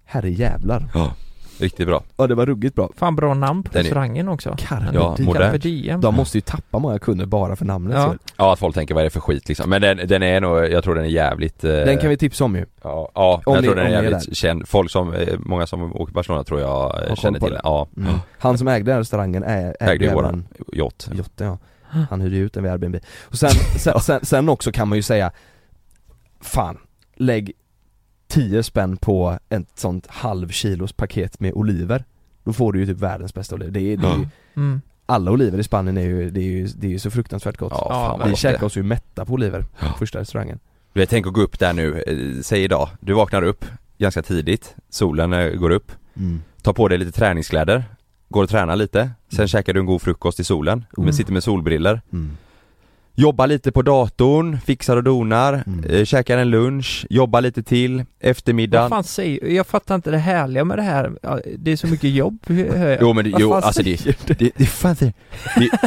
Speaker 1: Herrejävlar
Speaker 3: Ja. Riktigt bra.
Speaker 1: Ja det var ruggigt bra.
Speaker 2: Fan bra namn på
Speaker 3: Den är-
Speaker 2: restaurangen också.
Speaker 1: Carpe
Speaker 3: Ja,
Speaker 1: diem.
Speaker 3: modern.
Speaker 2: Carpe diem.
Speaker 1: De måste ju tappa många kunder bara för namnet.
Speaker 2: Ja.
Speaker 1: så.
Speaker 3: Ja, att folk tänker vad är det för skit liksom. Men den, den är nog, jag tror den är jävligt... eh,
Speaker 1: Den kan vi tipsa om ju.
Speaker 3: Ja, ja
Speaker 1: Om
Speaker 3: jag
Speaker 1: ni-
Speaker 3: tror den är
Speaker 1: om ni är
Speaker 3: jävligt känd. Folk som, eh, många som åker till Barcelona tror jag eh,
Speaker 1: koll
Speaker 3: känner
Speaker 1: på
Speaker 3: till
Speaker 1: det.
Speaker 3: den. Ja,
Speaker 1: Mm. Han som ägde den här restaurangen är,
Speaker 3: ägde ju
Speaker 1: även
Speaker 3: våran yacht.
Speaker 1: Jotte ja. Han hyrde ju ut den vid Airbnb. Och sen, sen, sen, sen också kan man ju säga Fan, lägg 10 spänn på ett sånt halvkilos paket med oliver Då får du ju typ världens bästa oliver. Det är, det är ju,
Speaker 2: Mm.
Speaker 1: alla oliver i Spanien är ju, det är ju, det är ju så fruktansvärt gott.
Speaker 3: Ja,
Speaker 2: Ja,
Speaker 3: fan vad
Speaker 1: Vi
Speaker 3: gott det är.
Speaker 1: käkade oss ju mätta på oliver, första restaurangen.
Speaker 3: Du vet, Tänk att gå upp där nu, eh, säg idag, du vaknar upp ganska tidigt, solen eh, går upp, tar på dig lite träningskläder, går och tränar lite, sen
Speaker 2: Mm.
Speaker 3: käkar du en god frukost i solen, men sitter med solbriller
Speaker 1: Mm.
Speaker 3: Jobbar lite på datorn, fixar och donar,
Speaker 1: Mm.
Speaker 3: eh, käkar en lunch, jobbar lite till,
Speaker 2: Vad
Speaker 3: eftermiddagen
Speaker 2: fan säger Jag fattar inte det härliga med det här. Ja, Det är så mycket jobb. hör jag.
Speaker 3: Jo men det- jo,
Speaker 1: fan
Speaker 3: alltså det,
Speaker 1: säger
Speaker 3: det, det, det, fan, det,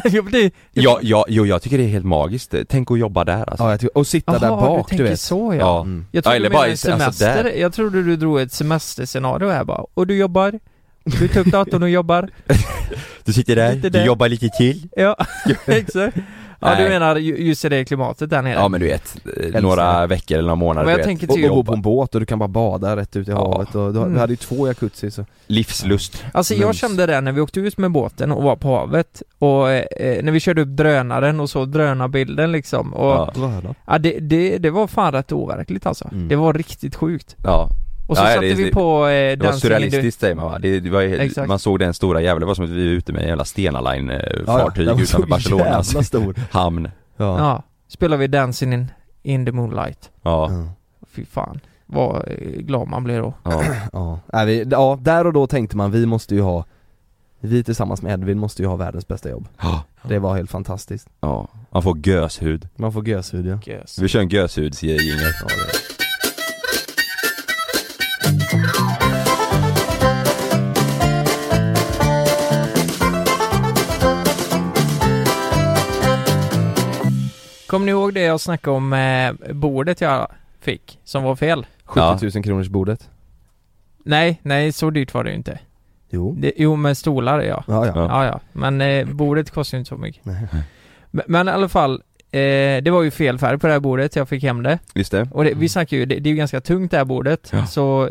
Speaker 2: Jo, men det-
Speaker 3: ja, ja, jo, jag tycker det är helt magiskt, tänk att jobba där alltså.
Speaker 1: Ja, jag tycker, och sitta där
Speaker 2: Jaha,
Speaker 1: bak
Speaker 2: du
Speaker 1: du,
Speaker 2: tänker
Speaker 1: vet.
Speaker 2: så ja.
Speaker 3: Ja.
Speaker 1: Mm.
Speaker 2: Jag trodde
Speaker 3: Ja, eller
Speaker 2: du menade
Speaker 3: bara i- alltså,
Speaker 2: semester.
Speaker 3: där.
Speaker 2: jag trodde du drog ett semesterscenario här bara. Och du jobbar, du tar upp datorn och jobbar.
Speaker 3: Du sitter där,
Speaker 2: Lite
Speaker 3: du
Speaker 2: där.
Speaker 3: jobbar lite till
Speaker 2: Ja, exakt. Ja, du
Speaker 3: Nej.
Speaker 2: menar ju- just i det klimatet där nere.
Speaker 3: Ja men du vet, eh, några veckor eller några månader
Speaker 2: Men jag
Speaker 3: du vet.
Speaker 2: tänker
Speaker 1: Och,
Speaker 2: till-
Speaker 1: och bo på en båt och du kan bara bada rätt ut i
Speaker 3: Ja.
Speaker 1: havet och du, har- du
Speaker 2: Mm.
Speaker 1: hade ju två jacuzzi så
Speaker 3: Livslust
Speaker 2: Alltså jag
Speaker 1: Mums.
Speaker 2: kände det när vi åkte ut med båten och var på havet och eh, när vi körde upp drönaren och så drönarbilden liksom och ja.
Speaker 3: Ja.
Speaker 2: det, det, det var fan rätt overkligt alltså.
Speaker 1: Mm.
Speaker 2: Det var riktigt sjukt.
Speaker 3: Ja,
Speaker 2: Och så
Speaker 3: Ja,
Speaker 2: satte
Speaker 3: det-
Speaker 2: vi
Speaker 3: det-
Speaker 2: på eh,
Speaker 3: det var
Speaker 2: Dancing in the...
Speaker 3: surrealistiskt säger man va? Det, det var,
Speaker 2: Exakt.
Speaker 3: man såg den stora jävla, det var som att vi var ute med en jävla Stena Line eh, fartyg
Speaker 1: den var så
Speaker 3: utanför Barcelonas
Speaker 1: jävla stor.
Speaker 3: hamn
Speaker 1: Ja.
Speaker 2: Ja, spelade vi Dancing in, in the moonlight.
Speaker 3: Ja,
Speaker 1: Ja.
Speaker 2: Fy fan, vad eh, glad man blir då.
Speaker 3: ja,
Speaker 1: Ja, Nej, vi, ja, där och då tänkte man vi måste ju ha Vi tillsammans med Edvin måste ju ha världens bästa jobb
Speaker 3: Ja.
Speaker 1: Det var helt fantastiskt
Speaker 3: ja. Man får göshud
Speaker 1: Man får göshud ja
Speaker 3: Vi kör en göshudsjingel ja,
Speaker 2: Kommer ni ihåg det jag snackade om eh, bordet jag fick, som var fel?
Speaker 1: 70 000 kronors bordet
Speaker 2: Nej, nej så dyrt var det ju inte.
Speaker 1: Jo
Speaker 2: Det, jo men stolar ja.
Speaker 1: Ja ja,
Speaker 3: Ja.
Speaker 2: Ja, ja. Men eh, bordet kostar ju inte så mycket.
Speaker 1: Nej.
Speaker 2: Men, men i alla fall, eh, det var ju fel färg på det här bordet, jag fick hem det.
Speaker 3: Just det?
Speaker 2: Och det, vi snackar ju, det, det är ju ganska tungt det här bordet,
Speaker 3: Ja.
Speaker 2: så...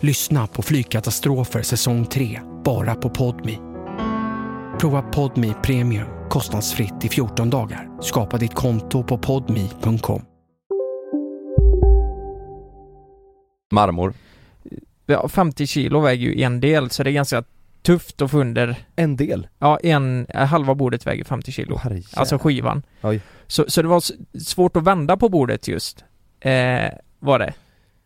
Speaker 4: Lyssna på Flygkatastrofer säsong 3, bara på Podmi. Prova Podmi Premium kostnadsfritt i 14 dagar. Skapa ditt konto på podmi.com.
Speaker 3: Marmor
Speaker 2: Ja, 50 kilo väger ju en del, så det är ganska tufft att få under...
Speaker 1: en del
Speaker 2: Ja, en... eh, Halva bordet väger 50 kilo.
Speaker 1: Herre
Speaker 2: Alltså skivan.
Speaker 1: Oj.
Speaker 2: Så, så det var s- svårt att vända på bordet just. Eh, var det.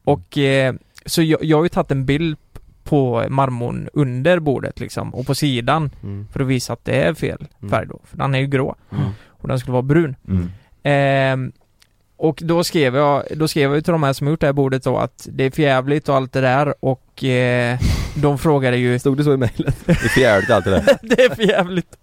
Speaker 2: Och eh, så jag, jag har ju tagit en bild p- på marmorn under bordet liksom och på sidan
Speaker 1: mm.
Speaker 2: för att visa att det är fel
Speaker 1: Mm.
Speaker 2: färg då. För den är ju grå
Speaker 1: Mm.
Speaker 2: och den skulle vara brun. Ehm, och då skrev jag, då skrev jag ju till de här som gjort det här bordet då att det är för jävligt och allt det där och eh, de frågade ju...
Speaker 1: Stod det så i mejlet?
Speaker 3: Det är fjärdigt allt det där.
Speaker 2: det är för jävligt.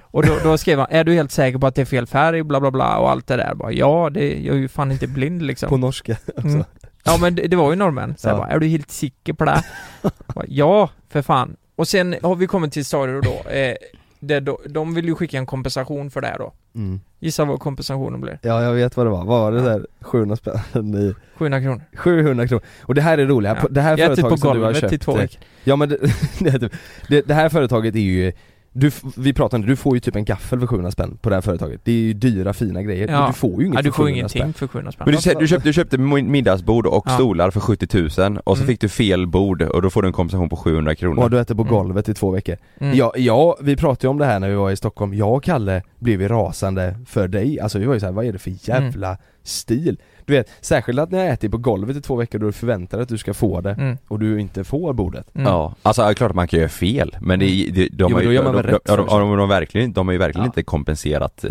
Speaker 2: Och då, då skrev han, är du helt säker på att det är fel färg, bla bla bla och allt det där. Jag Bara, ja, det, jag är ju fan inte blind liksom.
Speaker 1: På norska också.
Speaker 2: Mm. Ja men det, det var ju norrmän. Så jag
Speaker 1: Ja.
Speaker 2: bara, är du helt säker på det? Jag bara, ja, för fan. Och sen har vi kommit till Stario då, eh, där då, de vill ju skicka en kompensation för det här då.
Speaker 1: Mm.
Speaker 2: Gissa vad kompensationen blir?
Speaker 1: Ja jag vet vad det var, vad var det där 700 spänn i
Speaker 2: 700 kronor.
Speaker 1: 700 kronor. Och det här är roliga,
Speaker 2: Ja.
Speaker 1: det här
Speaker 2: Jag är typ
Speaker 1: företaget
Speaker 2: på
Speaker 1: som du har
Speaker 2: golvet
Speaker 1: köpt
Speaker 2: i två
Speaker 1: eh,
Speaker 2: veckor.
Speaker 1: Ja men det, det, är typ, det, det här företaget är ju du, f- vi pratade om det, du får ju typ en gaffel för 700 spänn på det här företaget. Det är ju dyra fina grejer,
Speaker 2: Ja.
Speaker 1: men du får ju inget
Speaker 2: Ja, du
Speaker 1: för
Speaker 2: får
Speaker 1: 700
Speaker 2: ingenting
Speaker 1: spänn.
Speaker 2: för 700 spänn.
Speaker 3: Men du, sä- du, köpte, du köpte mi- middagsbord och
Speaker 2: Ja.
Speaker 3: stolar för 70 000 och så
Speaker 2: Mm.
Speaker 3: fick du fel bord och då får du en kompensation på 700 kronor.
Speaker 1: Och du äter på golvet i två veckor.
Speaker 2: Mm.
Speaker 1: Ja, ja, vi pratade ju om det här när vi var i Stockholm, jag och Kalle blev ju rasande för dig, alltså vi var ju såhär, vad är det
Speaker 2: Mm.
Speaker 1: för jävla stil? Du vet, särskilt att när jag äter på golvet i två veckor då du förväntar dig att du ska få det
Speaker 2: Mm.
Speaker 1: och du inte får bordet.
Speaker 2: Mm.
Speaker 3: Ja, alltså ja, klart att man kan göra fel men det, är- det, de
Speaker 1: Jo,
Speaker 3: har
Speaker 1: men
Speaker 3: ju,
Speaker 1: då gör
Speaker 3: de,
Speaker 1: man
Speaker 3: de,
Speaker 1: väl
Speaker 3: de,
Speaker 1: rätt
Speaker 3: de, de,
Speaker 1: först.
Speaker 3: har verkligen, de har ju verkligen
Speaker 2: Ja.
Speaker 3: inte kompenserat eh,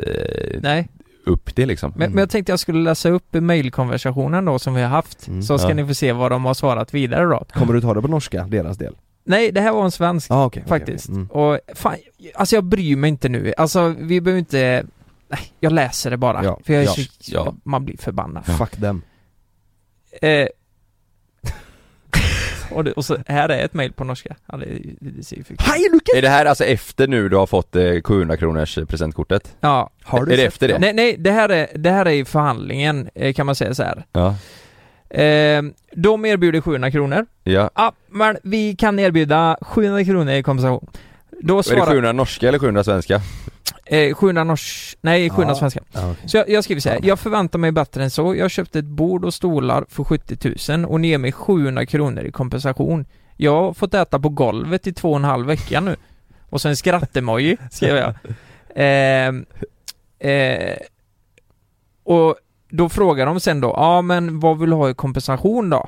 Speaker 2: Nej,
Speaker 3: upp det liksom.
Speaker 1: Mm.
Speaker 2: men, men jag tänkte jag skulle läsa upp mejlkonversationen då som vi har haft. så ska
Speaker 1: Mm. Ja.
Speaker 2: ni få se vad de har svarat vidare då.
Speaker 1: Kommer du ta det på norska, deras del?
Speaker 2: Nej, det här var en svensk
Speaker 1: Ja ah, okej, okej,
Speaker 2: faktiskt.
Speaker 1: okej. Mm.
Speaker 2: Och fan, alltså jag bryr mig inte nu. Alltså vi behöver inte... Nej, jag läser det bara.
Speaker 1: Ja,
Speaker 2: För jag är
Speaker 1: ja,
Speaker 2: så...
Speaker 1: ja.
Speaker 2: Man blir förbannad.
Speaker 1: Fuck them.
Speaker 2: Eh, och, det, och så här är ett mejl på norska. Ja, det, det ser ju fikt-
Speaker 3: Är det här alltså efter nu du har fått eh, 700 kronors presentkortet?
Speaker 2: Ja.
Speaker 3: Har du Är det sett efter det? det?
Speaker 2: Nej, nej, det här är, det här är i förhandlingen eh, kan man säga så här.
Speaker 3: Ja.
Speaker 2: Eh, de erbjuder 700 kronor.
Speaker 3: Ja.
Speaker 2: Ja, men vi kan erbjuda 700 kronor i kompensation. Då
Speaker 3: Är det
Speaker 2: svarar...
Speaker 3: 700 norska eller 700 svenska?
Speaker 2: Eh, 700 nors... Nej, 700
Speaker 3: Ja.
Speaker 2: svenska.
Speaker 1: Ja, okej.
Speaker 2: Så jag, jag skriver så här. jag förväntar mig bättre än så. Jag köpte ett bord och stolar för 70 000 och ni ger mig 700 kronor i kompensation. Jag har fått äta på golvet i två och en halv vecka nu. Och så en skrattemoji, skrev jag. Ehm, eh, och då frågar de sen då, ja men vad vill du ha i kompensation då?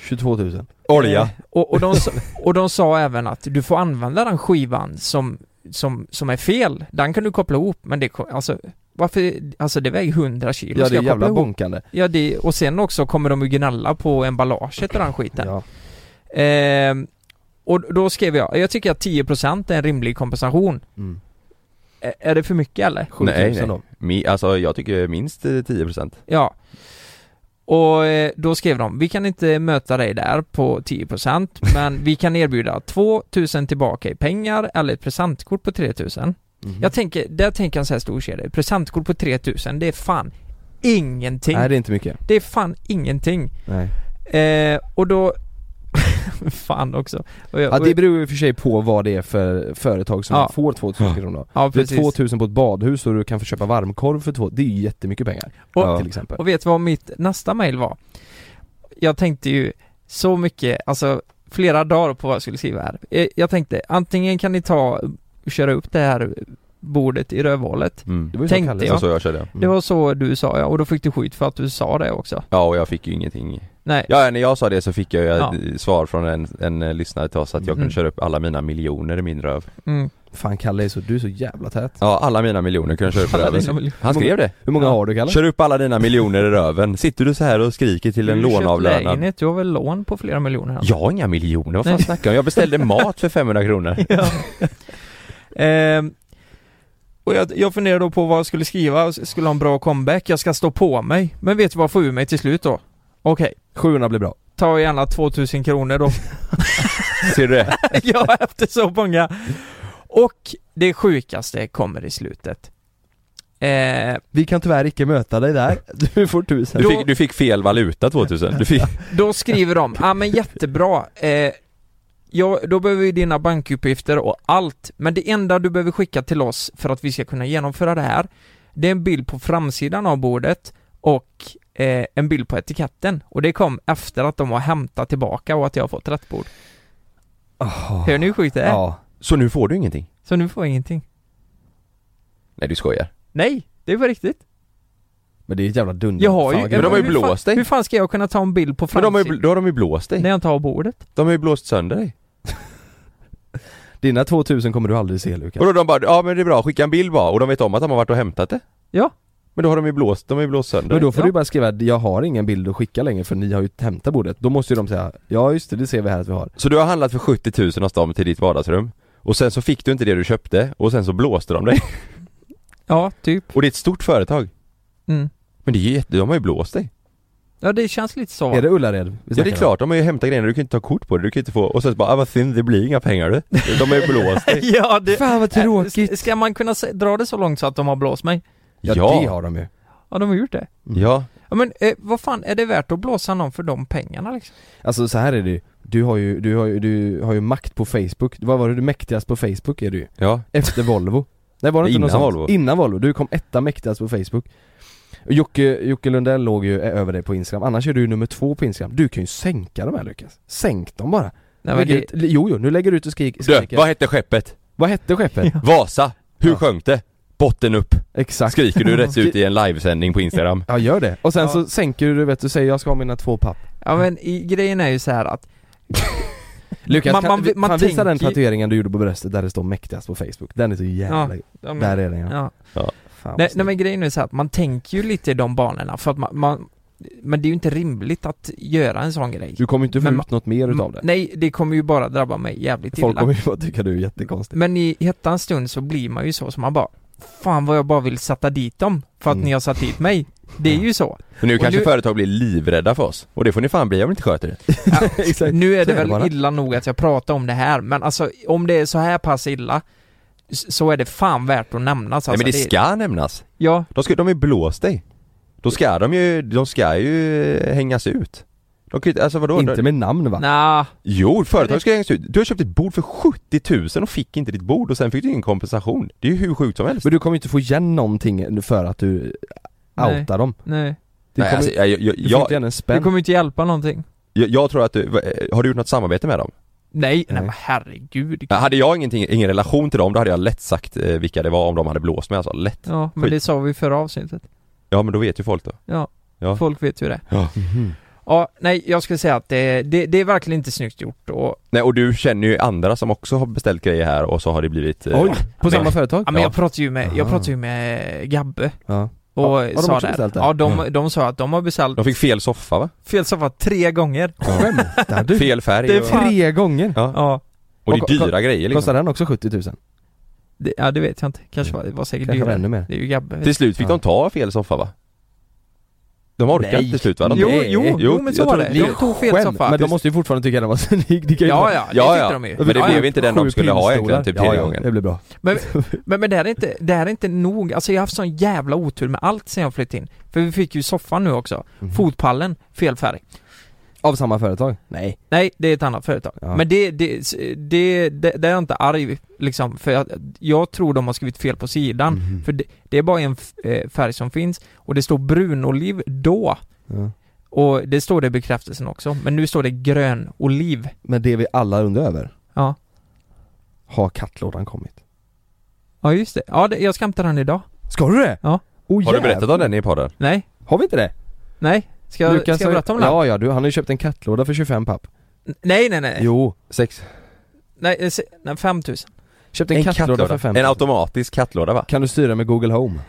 Speaker 1: 22 000.
Speaker 3: Olja.
Speaker 2: Eh, Och, och, de, sa- och de sa även att du får använda den skivan som, som, som är fel. Den kan du koppla ihop, men det, ko- alltså, varför, alltså det väger 100 kilo.
Speaker 1: Ja
Speaker 2: Ska
Speaker 1: det är
Speaker 2: jag koppla
Speaker 1: jävla
Speaker 2: ihop?
Speaker 1: bonkande.
Speaker 2: Ja, det, och sen också kommer de ju gnälla på emballaget och den skiten.
Speaker 1: Ja.
Speaker 2: Ehm, och då skrev jag, jag tycker att 10% är en rimlig kompensation.
Speaker 1: Mm.
Speaker 2: Ä- är det för mycket eller?
Speaker 1: 7 000 då.
Speaker 3: Mi, alltså jag tycker minst eh, 10%
Speaker 2: Ja. Och eh, då skrev de, vi kan inte möta dig där på 10% men vi kan erbjuda 2000 tillbaka i pengar eller ett presentkort på
Speaker 1: Mm.
Speaker 2: 3000. Jag tänker, där tänker jag så här stor kedja, presentkort på 3000 det är fan ingenting.
Speaker 1: Nej det är inte mycket.
Speaker 2: Det är fan ingenting.
Speaker 1: Nej.
Speaker 2: Eh, och då... fan också. Och jag,
Speaker 1: Ja
Speaker 2: och
Speaker 1: det beror ju för sig på vad det är för företag som
Speaker 2: Ja.
Speaker 1: får 2000 kronor
Speaker 2: Ja,
Speaker 1: Det är
Speaker 2: precis.
Speaker 1: 2000 på ett badhus och du kan få köpa varmkorv för 2 det är ju jättemycket pengar.
Speaker 2: Och-
Speaker 1: till exempel.
Speaker 2: Och vet du vad mitt nästa mail var? Jag tänkte ju så mycket, alltså flera dagar på vad jag skulle skriva här. Eh, Jag tänkte, antingen kan ni ta och köra upp det här bordet i rövhålet.
Speaker 3: Mm.
Speaker 1: var ju så Kalle
Speaker 2: Tänkte
Speaker 3: Det
Speaker 2: jag.
Speaker 3: var så jag körde.
Speaker 2: Det var så du sa ja, och då fick du skit för att du sa det också.
Speaker 3: Ja och jag fick ju ingenting
Speaker 2: Nej.
Speaker 3: Ja när jag sa det så fick jag ju
Speaker 2: Ja.
Speaker 3: ett svar från en, en eh, lyssnare till oss att jag
Speaker 2: Mm.
Speaker 3: kunde köra upp alla mina miljoner i min röv
Speaker 2: Mm.
Speaker 1: Fan Kalle, är så, du är så jävla tät. Liksom,
Speaker 3: Ja alla mina miljoner kunde jag köra upp i
Speaker 2: Alla dina
Speaker 3: röven
Speaker 2: miljoner.
Speaker 3: Han skrev det
Speaker 1: Hur många har du Kalle?
Speaker 3: Kör upp alla dina miljoner i röven Sitter du så här och skriker till en
Speaker 2: Du har ju köpt
Speaker 3: låneavlönad
Speaker 2: lägenhet, Du har väl lån på flera miljoner? här?
Speaker 3: Jag har inga miljoner, vad fan
Speaker 2: Nej.
Speaker 3: snackar du om? Jag beställde mat för 500 kronor
Speaker 2: Ja. Ehm, och jag, jag funderar då på vad jag skulle skriva, S- skulle ha en bra comeback, jag ska stå på mig. Men vet du vad jag får ur mig till slut då? Okej,
Speaker 1: 700 blir bra.
Speaker 2: ta gärna 2000 kronor då.
Speaker 3: Ser du det?
Speaker 2: ja, efter så många. Och det sjukaste kommer i slutet. Eh,
Speaker 1: Vi kan tyvärr icke möta dig där. Du får 1000.
Speaker 3: Du fick, du fick fel valuta 2000 Du fick
Speaker 2: då skriver de, ja ah, men jättebra. Eh, ja, då behöver vi dina bankuppgifter och allt. Men det enda du behöver skicka till oss för att vi ska kunna genomföra det här, det är en bild på framsidan av bordet och eh, en bild på etiketten. Och det kom efter att de har hämtat tillbaka och att jag har fått rätt bord.
Speaker 1: Åh.
Speaker 2: Hör ni hur sjukt det är?
Speaker 1: Ja.
Speaker 3: Så nu får du ingenting?
Speaker 2: Så nu får jag ingenting.
Speaker 3: Nej du skojar
Speaker 2: Nej, det är på riktigt.
Speaker 1: Men det är ett jävla dunder.
Speaker 2: Jag har ju...
Speaker 1: Fan,
Speaker 3: Men de har ju
Speaker 2: hur fan-
Speaker 3: blåst dig.
Speaker 2: Hur fan ska jag kunna ta en bild på
Speaker 3: Men de har
Speaker 2: framsidan?
Speaker 3: ju, då har de ju blåst
Speaker 2: När
Speaker 3: dig
Speaker 2: jag inte har bordet?
Speaker 3: De har ju blåst sönder dig
Speaker 1: Dina 2000 kommer du aldrig se Lukas.
Speaker 3: Och då de bara, ja men det är bra, skicka en bild bara och de vet om att de har varit och hämtat det
Speaker 2: Ja.
Speaker 3: Men då har de ju blåst, de har ju blåst sönder.
Speaker 1: Men då får
Speaker 3: Ja.
Speaker 1: du bara skriva jag har ingen bild att skicka längre för ni har ju hämtat bordet. Då måste ju de säga ja just det, det ser vi här att vi har.
Speaker 3: Så du har handlat för 70 000 hos dem till ditt vardagsrum och sen så fick du inte det du köpte och sen så blåste de dig.
Speaker 2: Ja, typ.
Speaker 3: Och det är ett stort företag.
Speaker 2: Mm.
Speaker 3: Men det är ju jätte, de har ju blåst dig.
Speaker 2: Ja, det känns lite så.
Speaker 1: Ullared?
Speaker 3: Ja det är klart, de har ju hämtat grejer, du kan inte ta kort på det, du kan inte få, och sen bara ah, vad synd, det blir inga pengar du. De har ju blåst dig.
Speaker 2: ja, det... Fan vad tråkigt. Ska man kunna se- dra det så långt så att de har blåst mig?
Speaker 3: Ja, Ja. det har de ju.
Speaker 2: Ja, de har gjort det.
Speaker 3: Ja.
Speaker 2: Ja, men eh, vad fan, är det värt att blåsa någon för de pengarna liksom?
Speaker 1: Alltså så här är det ju. Du har ju, du har ju, du har ju makt på Facebook. Vad var det du mäktigast på Facebook är du ju.
Speaker 3: Ja.
Speaker 1: Efter Volvo. Nej var det inte
Speaker 3: Innan
Speaker 1: något sånt?
Speaker 3: Volvo.
Speaker 1: Innan Volvo. Du kom etta mäktigast på Facebook. Jocke, Jocke Lundell låg ju över dig på Instagram, annars är du ju nummer två på Instagram. Du kan ju sänka de här Lukas. Sänk dem bara.
Speaker 2: Nej, men
Speaker 1: Lägg
Speaker 2: det-
Speaker 1: ut, jo, jo, nu lägger du ut och skrik,
Speaker 3: Du,
Speaker 1: skriker.
Speaker 3: vad hette skeppet?
Speaker 1: Vad hette skeppet?
Speaker 3: Vasa! Hur sjönk det? Botten upp!
Speaker 1: Exakt.
Speaker 3: Skriker du rätt ut i en livesändning på Instagram?
Speaker 1: Ja gör det. Och sen så sänker du, du vet, du säger jag ska ha mina två papp.
Speaker 2: Ja, men i, grejen är ju så här att...
Speaker 1: Lukas,
Speaker 2: Man-
Speaker 1: man, kan,
Speaker 2: man-
Speaker 1: man,
Speaker 2: man
Speaker 1: kan visa den
Speaker 2: tänker ju-
Speaker 1: tatueringen du gjorde på bröstet där det står mäktigast på Facebook? Den är så jävla...
Speaker 2: ja, men-
Speaker 1: där är den
Speaker 2: ja.
Speaker 1: ja.
Speaker 3: ja.
Speaker 1: Fan,
Speaker 2: Nej, nej men grejen är så här att man tänker ju lite i de banorna för att man, man men det är ju inte rimligt att göra en sån grej.
Speaker 1: Du kommer ju inte få
Speaker 2: Men
Speaker 1: ut något mer utav det.
Speaker 2: Mm, Nej, det kommer ju bara drabba mig jävligt
Speaker 1: Folk
Speaker 2: illa.
Speaker 1: kommer ju bara tycka du är jättekonstig.
Speaker 2: Men i hettans stund så blir man ju så som man bara Fan vad jag bara vill sätta dit dem för att ni har satt dit mig. Det är ju så.
Speaker 3: Men nu
Speaker 2: Och
Speaker 3: kanske företag blir livrädda för oss, och det får ni fan bli om ni inte sköter det.
Speaker 2: Nu är
Speaker 3: Så
Speaker 2: det
Speaker 3: är det
Speaker 2: väl
Speaker 3: bara.
Speaker 2: illa nog att jag pratar om det här men alltså om det är så här pass illa s- så är det fan värt att nämnas.
Speaker 3: Nej
Speaker 2: Alltså,
Speaker 3: men det ska nämnas.
Speaker 2: Ja.
Speaker 3: De, ska, de har ju blåst dig. Då ska de ju, de ska ju eh, hängas ut. De kan ju, inte- alltså vadå?
Speaker 1: Inte
Speaker 3: de,
Speaker 1: med namn va?
Speaker 2: Nja.
Speaker 3: Jo, företag ska hängas ut. Du har köpt ett bord för 70 000 och fick inte ditt bord och sen fick du ingen kompensation. Det är ju hur sjukt som helst.
Speaker 1: Men du kommer ju inte få igen någonting för att du
Speaker 2: Nej.
Speaker 1: outar dem.
Speaker 2: Nej.
Speaker 1: Det
Speaker 3: Nej,
Speaker 1: kommer-
Speaker 3: alltså, jag, jag, jag,
Speaker 1: Du får inte igen en
Speaker 2: Det
Speaker 1: spänn.
Speaker 2: kommer ju inte hjälpa någonting.
Speaker 3: jag, jag tror att du, va- eh, har du gjort något samarbete med dem?
Speaker 2: Nej, nej men herregud.
Speaker 3: Ja, Hade jag ingenting, ingen relation till dem, då hade jag lätt sagt eh, vilka det var om de hade blåst mig alltså. Lätt.
Speaker 2: Ja, men
Speaker 3: Skit.
Speaker 2: det sa vi i förra avsnittet.
Speaker 3: Ja men då vet ju folk då.
Speaker 2: Ja,
Speaker 3: Ja.
Speaker 2: folk vet ju det.
Speaker 3: Ja.
Speaker 1: Mhm.
Speaker 2: Ja, nej, jag skulle säga att det, det, det är verkligen inte snyggt gjort och...
Speaker 3: Nej och du känner ju andra som också har beställt grejer här och så har det blivit... eh,
Speaker 1: Oj, på
Speaker 3: men-
Speaker 1: samma företag?
Speaker 2: Ja, men jag
Speaker 3: Ja.
Speaker 2: pratade ju med, jag
Speaker 1: Ah.
Speaker 2: pratade ju med Gabbe
Speaker 1: Ja.
Speaker 2: och
Speaker 1: Ja, har de
Speaker 2: sa
Speaker 1: också
Speaker 2: det.
Speaker 1: beställt det?
Speaker 2: Ja, de, de sa att de har beställt
Speaker 3: De fick fel soffa va?
Speaker 2: fel soffa tre gånger.
Speaker 1: Skämtar du?
Speaker 3: Fel färg
Speaker 2: Det är
Speaker 3: och,
Speaker 2: fan-
Speaker 1: Tre gånger?
Speaker 3: ja.
Speaker 2: Ja,
Speaker 3: och det
Speaker 1: Och-
Speaker 3: är dyra grejer liksom.
Speaker 1: Kostar den också 70 000?
Speaker 2: det, ja, det vet jag inte. Kanske var, det var säkert
Speaker 1: Mm. Kanske var
Speaker 2: dyrare.
Speaker 1: ännu mer.
Speaker 2: Det är ju Gabbe.
Speaker 3: Till slut fick
Speaker 1: Ja.
Speaker 3: de ta fel soffa va? De orkade
Speaker 1: Nej.
Speaker 3: till slut va? De,
Speaker 2: Jo,
Speaker 1: Nej.
Speaker 2: jo, jo,
Speaker 3: Jo,
Speaker 2: men så
Speaker 3: jag
Speaker 2: var
Speaker 3: tror
Speaker 2: det.
Speaker 3: det
Speaker 2: De tog fel
Speaker 1: Skämt,
Speaker 2: soffa.
Speaker 1: Men de måste ju fortfarande tycka den var snygg. Det kan ju
Speaker 2: Ja,
Speaker 1: vara-
Speaker 2: ja, det
Speaker 3: ja,
Speaker 2: tyckte
Speaker 3: ja.
Speaker 2: de ju.
Speaker 3: Men det
Speaker 2: Ja,
Speaker 3: blev
Speaker 2: ja.
Speaker 3: inte den de
Speaker 1: Sju
Speaker 3: skulle ha egentligen typ
Speaker 1: pinnstolar.
Speaker 3: tredje
Speaker 1: ja, ja, det
Speaker 3: gången.
Speaker 1: blir bra.
Speaker 2: Men, men, men det här är inte, det här är inte nog, alltså jag har haft sån jävla otur med allt sen jag flyttade in. För vi fick ju soffan nu också.
Speaker 3: Mm.
Speaker 2: Fotpallen, fel färg.
Speaker 1: Av samma företag? Mm. Nej.
Speaker 2: Nej, det är ett annat företag.
Speaker 1: Ja.
Speaker 2: Men det, det, det, det, det är jag inte arg liksom, för jag, jag tror de har skrivit fel på
Speaker 1: Mm.
Speaker 2: sidan. För det, det är bara en f- eh, färg som finns och det står brunoliv då.
Speaker 1: Ja.
Speaker 2: Och det står det i bekräftelsen också, men nu står det grönoliv.
Speaker 1: Men det vi alla undrar över,
Speaker 2: Ja,
Speaker 1: har kattlådan kommit?
Speaker 2: ja just det. Ja, det, jag ska hämta den idag.
Speaker 1: Ska du det?
Speaker 2: Ja.
Speaker 1: Oh,
Speaker 3: Har du berättat om den i podden?
Speaker 2: Nej,
Speaker 1: Har vi inte det?
Speaker 2: nej. Ska jag, ska jag
Speaker 1: har-
Speaker 2: berätta om den?
Speaker 1: Ja, ja, du, han har ju köpt en kattlåda för 25 papp.
Speaker 2: N- Nej, nej, nej.
Speaker 1: Jo.
Speaker 3: Sex.
Speaker 2: Nej, eh, se- nej 5000.
Speaker 1: Köpt en, kattlåda, för 5
Speaker 3: En automatisk kattlåda va?
Speaker 1: Kan du styra med Google Home?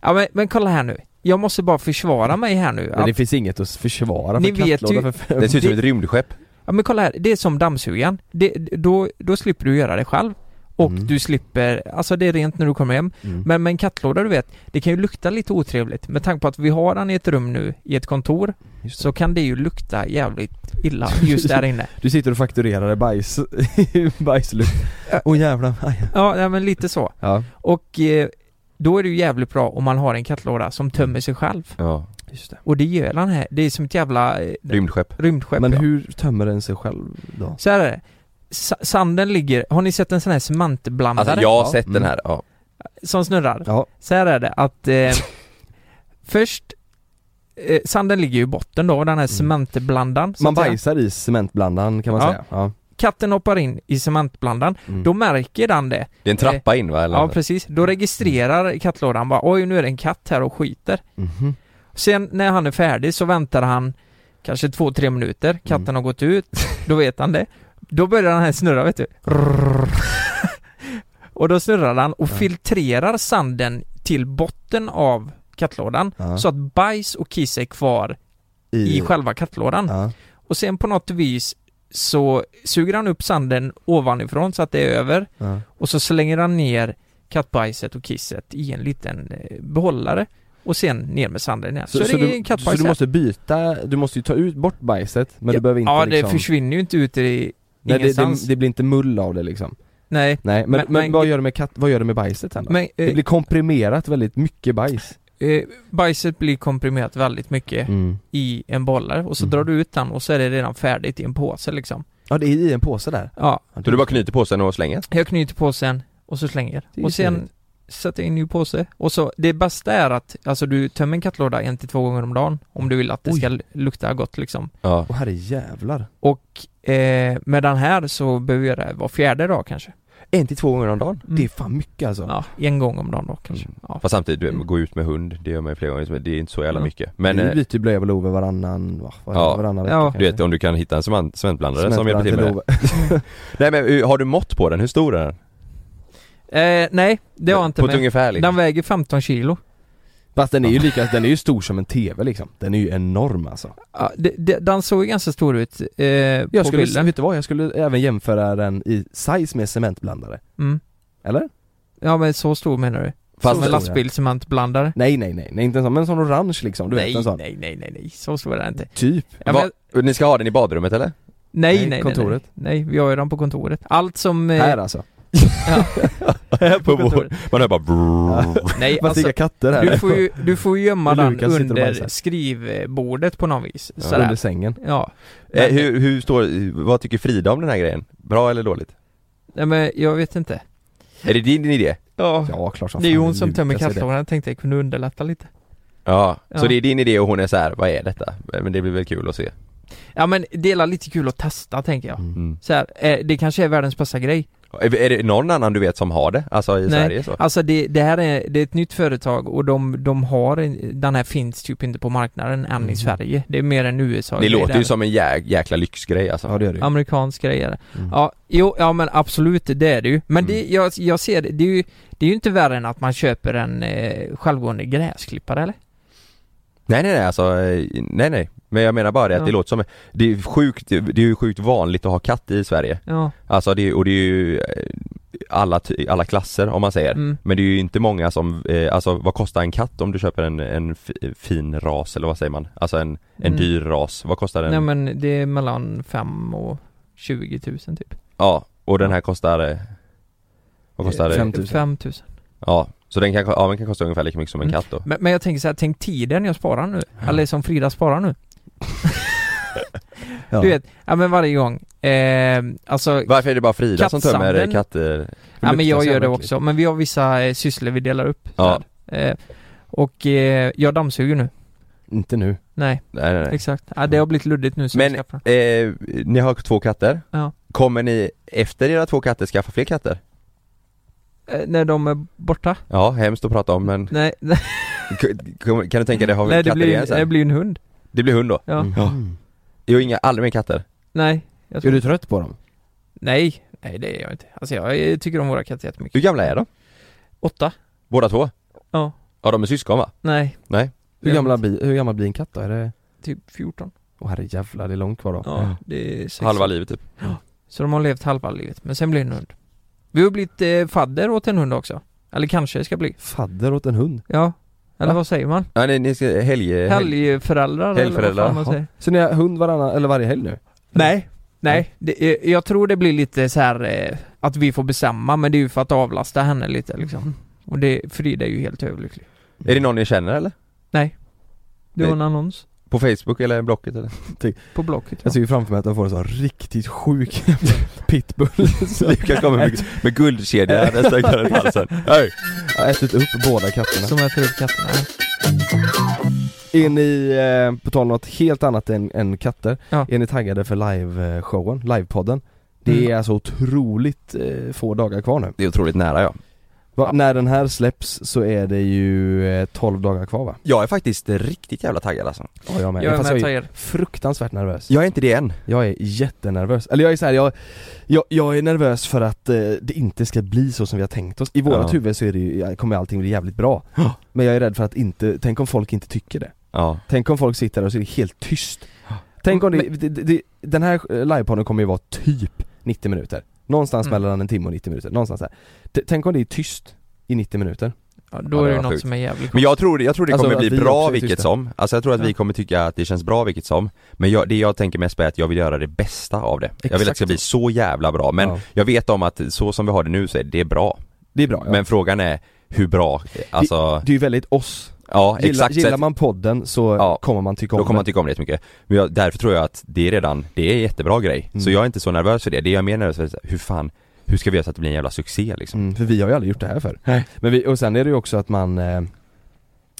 Speaker 2: Ja, men, men kolla här nu. Jag måste bara försvara mig här nu.
Speaker 1: Men
Speaker 2: Att,
Speaker 1: det finns inget att försvara
Speaker 2: Ni
Speaker 1: för
Speaker 2: vet
Speaker 1: kattlåda
Speaker 2: ju-
Speaker 1: för 5
Speaker 3: Det ser ut som ett rymdskepp.
Speaker 2: Ja men kolla här, det är som dammsugaren. Det, då, då slipper du göra det själv. Och
Speaker 1: Mm.
Speaker 2: du slipper, alltså det är rent när du kommer hem.
Speaker 1: Mm.
Speaker 2: Men med en kattlåda du vet, det kan ju lukta lite otrevligt. Med tanke på att vi har den i ett rum nu, i ett kontor,
Speaker 1: Just det.
Speaker 2: så kan det ju lukta jävligt illa just där inne.
Speaker 1: Du sitter och fakturerar det bajs, bajslukt. Åh jävlar. Aj.
Speaker 2: Ja, ja, men lite så.
Speaker 1: Ja,
Speaker 2: Och eh, då är det ju jävligt bra om man har en kattlåda som tömmer sig själv.
Speaker 3: Ja.
Speaker 1: just det.
Speaker 2: Och det gör den här, det är som ett jävla eh,
Speaker 3: Rymdskepp.
Speaker 2: rymdskepp.
Speaker 1: Men
Speaker 2: ja.
Speaker 1: hur tömmer den sig själv då?
Speaker 2: Så här är det. Sa- sanden ligger, har ni sett en sån här cementblandare?
Speaker 3: Alltså jag har
Speaker 2: Ja.
Speaker 3: sett
Speaker 1: Mm.
Speaker 3: den här. Ja.
Speaker 2: Som snurrar?
Speaker 1: Ja.
Speaker 2: Så här är det att eh, först eh, Sanden ligger ju i botten då, den här cementblandaren. så
Speaker 1: Man
Speaker 2: att säga.
Speaker 1: bajsar i cementblandaren kan man
Speaker 2: Ja.
Speaker 1: säga. Ja.
Speaker 2: Katten hoppar in i cementblandaren,
Speaker 1: Mm.
Speaker 2: då märker den det.
Speaker 3: Det är en trappa in va? Eller?
Speaker 2: Ja precis, då registrerar kattlådan bara oj nu är det en katt här och skiter.
Speaker 1: Mhm.
Speaker 2: Sen när han är färdig så väntar han kanske två, tre minuter, katten har gått ut, då vet han det. Då börjar den här snurra vet du. Rrrr. och då snurrar han och filtrerar sanden till botten av kattlådan så att bajs och kiss är kvar
Speaker 1: I-
Speaker 2: i, själva kattlådan. Och sen på något vis så suger han upp sanden ovanifrån så att det är över
Speaker 1: Ja.
Speaker 2: och så slänger han ner kattbajset och kisset i en liten eh, behållare och sen ner med sanden igen. Så,
Speaker 1: Så, så,
Speaker 2: det är
Speaker 1: du,
Speaker 2: kattbajs
Speaker 1: så du
Speaker 2: här.
Speaker 1: måste byta, du måste ju ta ut bort bajset men du behöver inte
Speaker 2: Ja, det
Speaker 1: liksom...
Speaker 2: försvinner ju inte ut i
Speaker 1: Nej, det,
Speaker 2: ingenstans.
Speaker 1: det, det blir inte mull av det liksom
Speaker 2: Nej.
Speaker 1: Nej men, men,
Speaker 2: Men- men-
Speaker 1: vad gör du med katt, vad gör du med bajset sen då?
Speaker 2: Men, eh,
Speaker 1: det blir komprimerat väldigt mycket bajs
Speaker 2: Eh, bajset blir komprimerat väldigt mycket
Speaker 1: Mm.
Speaker 2: i en bollare och så drar du ut den och så är det redan färdigt i en påse liksom.
Speaker 1: Ja det är i en påse där?
Speaker 2: Ja.
Speaker 3: Så du bara knyter påsen och slänger?
Speaker 2: Jag knyter påsen och så slänger
Speaker 1: Det är ju
Speaker 2: och sen
Speaker 1: trevligt.
Speaker 2: sätter jag in en ny påse och så det bästa är att alltså du tömmer en kattlåda en till två gånger om dagen om du vill att det
Speaker 1: Oj.
Speaker 2: ska l- lukta gott liksom.
Speaker 3: Ja.
Speaker 1: Åh herrejävlar
Speaker 2: Och eh, med den här så behöver jag det vara fjärde dag kanske.
Speaker 1: En till två gånger om dagen?
Speaker 2: Mm.
Speaker 1: Det är fan mycket alltså
Speaker 2: Ja, en gång om dagen då kanske.
Speaker 1: Mm.
Speaker 2: Ja.
Speaker 3: Fast samtidigt, du, vet, gå ut med hund, det gör man ju flera gånger, men det är inte så jävla
Speaker 2: Ja.
Speaker 3: mycket Men,
Speaker 1: Vi
Speaker 3: eh,
Speaker 1: byter ju blöja och lover varannan, va, var, varannan vecka
Speaker 2: Ja.
Speaker 1: kanske.
Speaker 3: du vet om du kan hitta en cement- cementblandare som hjälper till med det
Speaker 1: Cementblandare till
Speaker 3: Nej men eh, har du mått på den? Hur stor är den?
Speaker 2: Eh, nej, det har jag inte
Speaker 3: På ett
Speaker 2: med.
Speaker 3: ungefär liksom.
Speaker 2: Den väger 15 kilo.
Speaker 1: Fast den är ju lika, den är ju stor som en TV liksom Den är ju enorm alltså
Speaker 2: Ja, det, det, den såg ju ganska stor ut eh,
Speaker 1: Jag
Speaker 2: på
Speaker 1: skulle,
Speaker 2: bilden.
Speaker 1: vet du vad? Jag skulle även jämföra den i size med cementblandare
Speaker 2: Mm.
Speaker 1: Eller?
Speaker 2: Ja men så stor menar du?
Speaker 1: Fast-
Speaker 2: Fast som en lastbilscementblandare?
Speaker 1: Nej nej nej, nej inte en sån, men en sån orange liksom, du vet
Speaker 2: Nej,
Speaker 1: en sån
Speaker 2: nej, nej, nej, nej, så stor är den inte.
Speaker 1: Typ
Speaker 2: Ja, men,
Speaker 3: Va-
Speaker 2: jag-
Speaker 3: Ni ska ha den i badrummet eller?
Speaker 2: nej,
Speaker 1: Nej,
Speaker 2: nej, nej,
Speaker 1: kontoret.
Speaker 2: Nej, nej, vi har ju den på kontoret. Allt som... eh,
Speaker 1: Här alltså
Speaker 3: Här på
Speaker 2: kontoret.
Speaker 3: vår, man hör bara brrrr.
Speaker 2: Nej,
Speaker 1: Vad
Speaker 2: alltså,
Speaker 1: sticka katter här
Speaker 2: du får ju, du får ju gömma
Speaker 1: Och
Speaker 2: den
Speaker 1: Lukas sitter och bajsar.
Speaker 2: under skrivbordet på något vis.
Speaker 1: Under
Speaker 2: Sådär.
Speaker 1: sängen
Speaker 2: Ja.
Speaker 3: eh, hur, hur står, vad tycker Frida om den här grejen? Bra eller dåligt?
Speaker 2: Nej men jag vet inte.
Speaker 3: Är det din idé?
Speaker 2: Ja,
Speaker 1: Ja klart som
Speaker 2: det är ju
Speaker 1: fan
Speaker 2: hon som
Speaker 1: Lukas
Speaker 2: tömmer
Speaker 1: är det.
Speaker 2: kattlådan. Jag tänkte jag kunde underlätta lite.
Speaker 3: Ja, så
Speaker 2: Ja.
Speaker 3: det är din idé och hon är så här, vad är detta? Men det blir väl kul att se?
Speaker 2: Ja men det är lite kul att testa tänker jag.
Speaker 3: Mm.
Speaker 2: Så här, eh, det kanske är världens bästa grej.
Speaker 3: Är, är det någon annan du vet som har det? Alltså i
Speaker 2: Nej.
Speaker 3: Sverige så?
Speaker 2: Alltså det, det här är, det är ett nytt företag och de, de har, en- den här finns typ inte på marknaden än
Speaker 1: Mhm.
Speaker 2: i Sverige. Det är mer en USA
Speaker 3: Det låter
Speaker 2: där.
Speaker 3: ju som en jä, jäkla lyxgrej alltså.
Speaker 1: Ja det gör det ju
Speaker 2: Amerikansk grej är det.
Speaker 1: Mm.
Speaker 2: Ja, jo, ja men absolut, det är det ju. Men det, jag, jag ser det, det är ju, det är ju inte värre än att man köper en eh, självgående gräsklippare eller?
Speaker 3: Nej nej nej alltså, eh, nej nej. Men jag menar bara det att
Speaker 2: Ja.
Speaker 3: det låter som, det är sjukt, det är ju sjukt vanligt att ha katt i Sverige.
Speaker 2: Ja.
Speaker 3: Alltså det, och det är ju eh, alla, ty- alla klasser om man säger.
Speaker 2: Mm.
Speaker 3: Men det är ju inte många som, eh, alltså vad kostar en katt om du köper en, en f- fin ras eller vad säger man? Alltså en, en
Speaker 2: Mm.
Speaker 3: dyr ras, vad kostar den?
Speaker 2: Nej men det är mellan 5 och 20 000 typ.
Speaker 3: Ja, och den här kostar, eh, vad kostar det?
Speaker 1: Fem tusen.
Speaker 2: 5 000.
Speaker 3: Ja, så den kan, ja, den kan kosta ungefär lika mycket som en
Speaker 2: Mm.
Speaker 3: katt då.
Speaker 2: Men, men jag tänker så här, tänk tiden jag sparar nu. Eller som Frida sparar nu.
Speaker 1: Ja.
Speaker 2: Du vet, ja men varje gång. Eh, alltså
Speaker 3: Varför är det bara Frida som tömmer
Speaker 2: Kattsanden.
Speaker 3: eh, katter?
Speaker 2: Ja men
Speaker 1: luktar
Speaker 2: jag
Speaker 1: så
Speaker 2: gör det
Speaker 1: jävla äckligt.
Speaker 2: också, men vi har vissa eh, sysslor vi delar upp
Speaker 3: Ja.
Speaker 2: där. eh, Och eh, jag dammsuger nu
Speaker 1: Inte nu
Speaker 2: Nej,
Speaker 3: Nej, nej, nej.
Speaker 2: exakt. Ja, det har blivit luddigt nu så
Speaker 3: Men-
Speaker 2: jag skaffar den.
Speaker 3: Eh, ni har två katter.
Speaker 2: Ja.
Speaker 3: Kommer ni efter era två katter skaffa fler katter?
Speaker 2: eh, När de är borta?
Speaker 3: Ja, hemskt att prata om men
Speaker 2: Nej, nej,
Speaker 3: kan kan du tänka dig ha
Speaker 2: nej
Speaker 3: katter
Speaker 2: det,
Speaker 3: igen
Speaker 2: blir,
Speaker 3: sen?
Speaker 2: det blir en hund
Speaker 3: Det blir hund då?
Speaker 2: Ja,
Speaker 3: Ja. Jo, inga, aldrig mer katter?
Speaker 2: nej jag
Speaker 1: Mm. Är
Speaker 2: tror,
Speaker 1: du trött på dem?
Speaker 2: Nej, nej det är jag inte Alltså jag eh, tycker om våra katter jättemycket
Speaker 3: Hur gamla är de?
Speaker 2: Åtta?
Speaker 3: Båda två?
Speaker 2: Ja.
Speaker 3: Ja, de är syskon va?
Speaker 2: Nej
Speaker 3: Nej.
Speaker 1: Hur, gamla bli, hur gammal blir en katt då? Är det...
Speaker 2: Typ 14
Speaker 1: Åh herrejävlar, det är långt kvar då
Speaker 2: Ja, det är sex
Speaker 3: Halva
Speaker 2: år.
Speaker 3: livet typ?
Speaker 2: Så de har levt halva livet, men sen blir det en hund Vi har blivit eh, fadder åt en hund också Eller kanske det ska bli
Speaker 1: Fadder åt en hund
Speaker 2: Ja, eller
Speaker 1: Va?
Speaker 2: vad säger man?
Speaker 3: Ja, ni, ni ska, helg... helg.
Speaker 2: Helgföräldrar eller
Speaker 3: Helgföräldrar,
Speaker 2: vad fan man
Speaker 3: ja.
Speaker 2: säger.
Speaker 1: Så ni har hund varannan, eller varje helg nu?
Speaker 2: Nej, nej. Det, eh, jag tror det blir lite så här eh, att vi får bestämma men det är ju för att avlasta henne lite liksom. Och det, Frida är ju helt överlycklig.
Speaker 3: Är det någon ni känner eller?
Speaker 2: Det var en annons
Speaker 3: På Facebook eller Blocket eller?
Speaker 2: på Blocket. Ja.
Speaker 1: Jag ser framför mig att de får en sån riktigt sjuk pitbull som
Speaker 3: Lukas kommer med, med guldkedja nästa kväll runt halsen. Hej!
Speaker 1: har ätit upp båda katterna
Speaker 2: Som äter upp katterna.
Speaker 1: Är ni, eh, på tal om något helt annat än, än katter,
Speaker 2: Ja.
Speaker 1: är ni taggade för live-showen,
Speaker 3: Mm.
Speaker 1: livepodden? Det är alltså otroligt eh, få dagar kvar nu
Speaker 3: Det är otroligt nära ja.
Speaker 1: Va, När den här släpps så är det ju eh, 12 dagar kvar va?
Speaker 3: Jag är faktiskt riktigt jävla taggad alltså.
Speaker 1: Ja, jag med.
Speaker 3: Jag är
Speaker 1: Fast
Speaker 3: med,
Speaker 1: jag är
Speaker 3: taggad.
Speaker 1: fruktansvärt nervös
Speaker 3: Jag är inte det än.
Speaker 1: Jag är jättenervös, eller jag är så här, jag, jag, jag är nervös för att eh, det inte ska bli så som vi har tänkt oss I vårat
Speaker 3: Ja.
Speaker 1: huvud så är det ju, kommer allting bli jävligt bra Men jag är rädd för att inte, tänk om folk inte tycker det
Speaker 3: Ja.
Speaker 1: Tänk om folk sitter där och så är det helt tyst Tänk om det, det, det, den här eh, livepodden kommer ju vara typ 90 minuter Någonstans
Speaker 2: Mm.
Speaker 1: mellan en timme och 90 minuter, någonstans där T- Tänk om det är tyst i 90 minuter
Speaker 2: Ja,
Speaker 3: Ja, det var sjukt. Men jag tror, jag tror det
Speaker 1: Alltså,
Speaker 3: kommer bli bra vilket som, alltså jag tror att vi kommer tycka att det känns bra vilket som Men jag, det jag tänker mest på är att jag vill göra det bästa av det Jag vill att det ska
Speaker 1: Exakt.
Speaker 3: bli så jävla bra, men
Speaker 1: Ja.
Speaker 3: jag vet om att så som vi har det nu så är det bra
Speaker 1: Det är bra ja.
Speaker 3: Men frågan är hur bra, alltså
Speaker 1: Det är ju väldigt oss
Speaker 3: Ja
Speaker 1: Gillar,
Speaker 3: exakt,
Speaker 1: gillar
Speaker 3: Så att-
Speaker 1: man podden så kommer man tycka om
Speaker 3: då kommer man
Speaker 1: det.
Speaker 3: tycka om det jättemycket Men jag, därför tror jag att det är redan, det är en jättebra grej Så jag är inte så nervös för det, det jag är mer nervös för är så här, hur fan, hur ska vi göra så att det blir en jävla succé liksom?
Speaker 1: Mm, för vi har ju aldrig gjort det här förr. Men vi, och sen är det ju också att man eh,